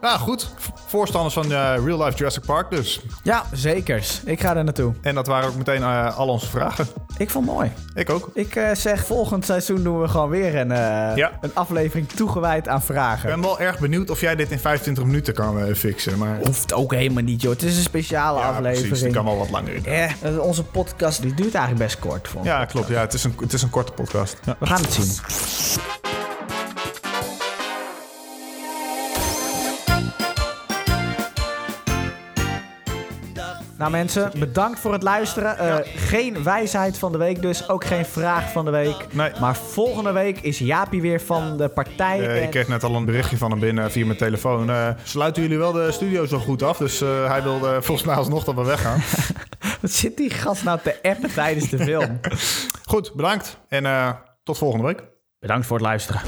C: Nou goed, V- voorstanders van eh, Real Life Jurassic Park dus.
B: ja, zekers. Ik ga er naartoe.
C: En dat waren ook meteen eh, al onze vragen.
B: Ik vond het mooi.
C: Ik ook.
B: Ik eh, zeg, volgend seizoen doen we gewoon weer een, eh,
C: Ja.
B: een aflevering toegewijd aan vragen.
C: Ik ben wel erg benieuwd of jij dit in 25 minuten kan eh, fixen. Maar
B: Hoeft ook helemaal niet, joh. Het is een speciale
C: ja,
B: aflevering.
C: precies, die kan wel wat langer in.
B: Eh, eh, onze podcast die duurt eigenlijk best kort. Voor.
C: Ja, klopt. Ja, het, is een, het is een korte podcast. Ja.
B: We gaan het zien. Nou mensen, bedankt voor het luisteren. Eh, Geen wijsheid van de week dus, ook geen vraag van de week.
C: Nee.
B: Maar volgende week is Jaapie weer van de partij.
C: Eh, ik
B: en-
C: kreeg net al een berichtje van hem binnen via mijn telefoon. Eh, sluiten jullie wel de studio zo goed af? Dus eh, hij wilde eh, volgens mij alsnog dat we weggaan.
B: Wat zit die gast nou te appen tijdens de film?
C: goed, bedankt. En eh, tot volgende week.
D: Bedankt voor het luisteren.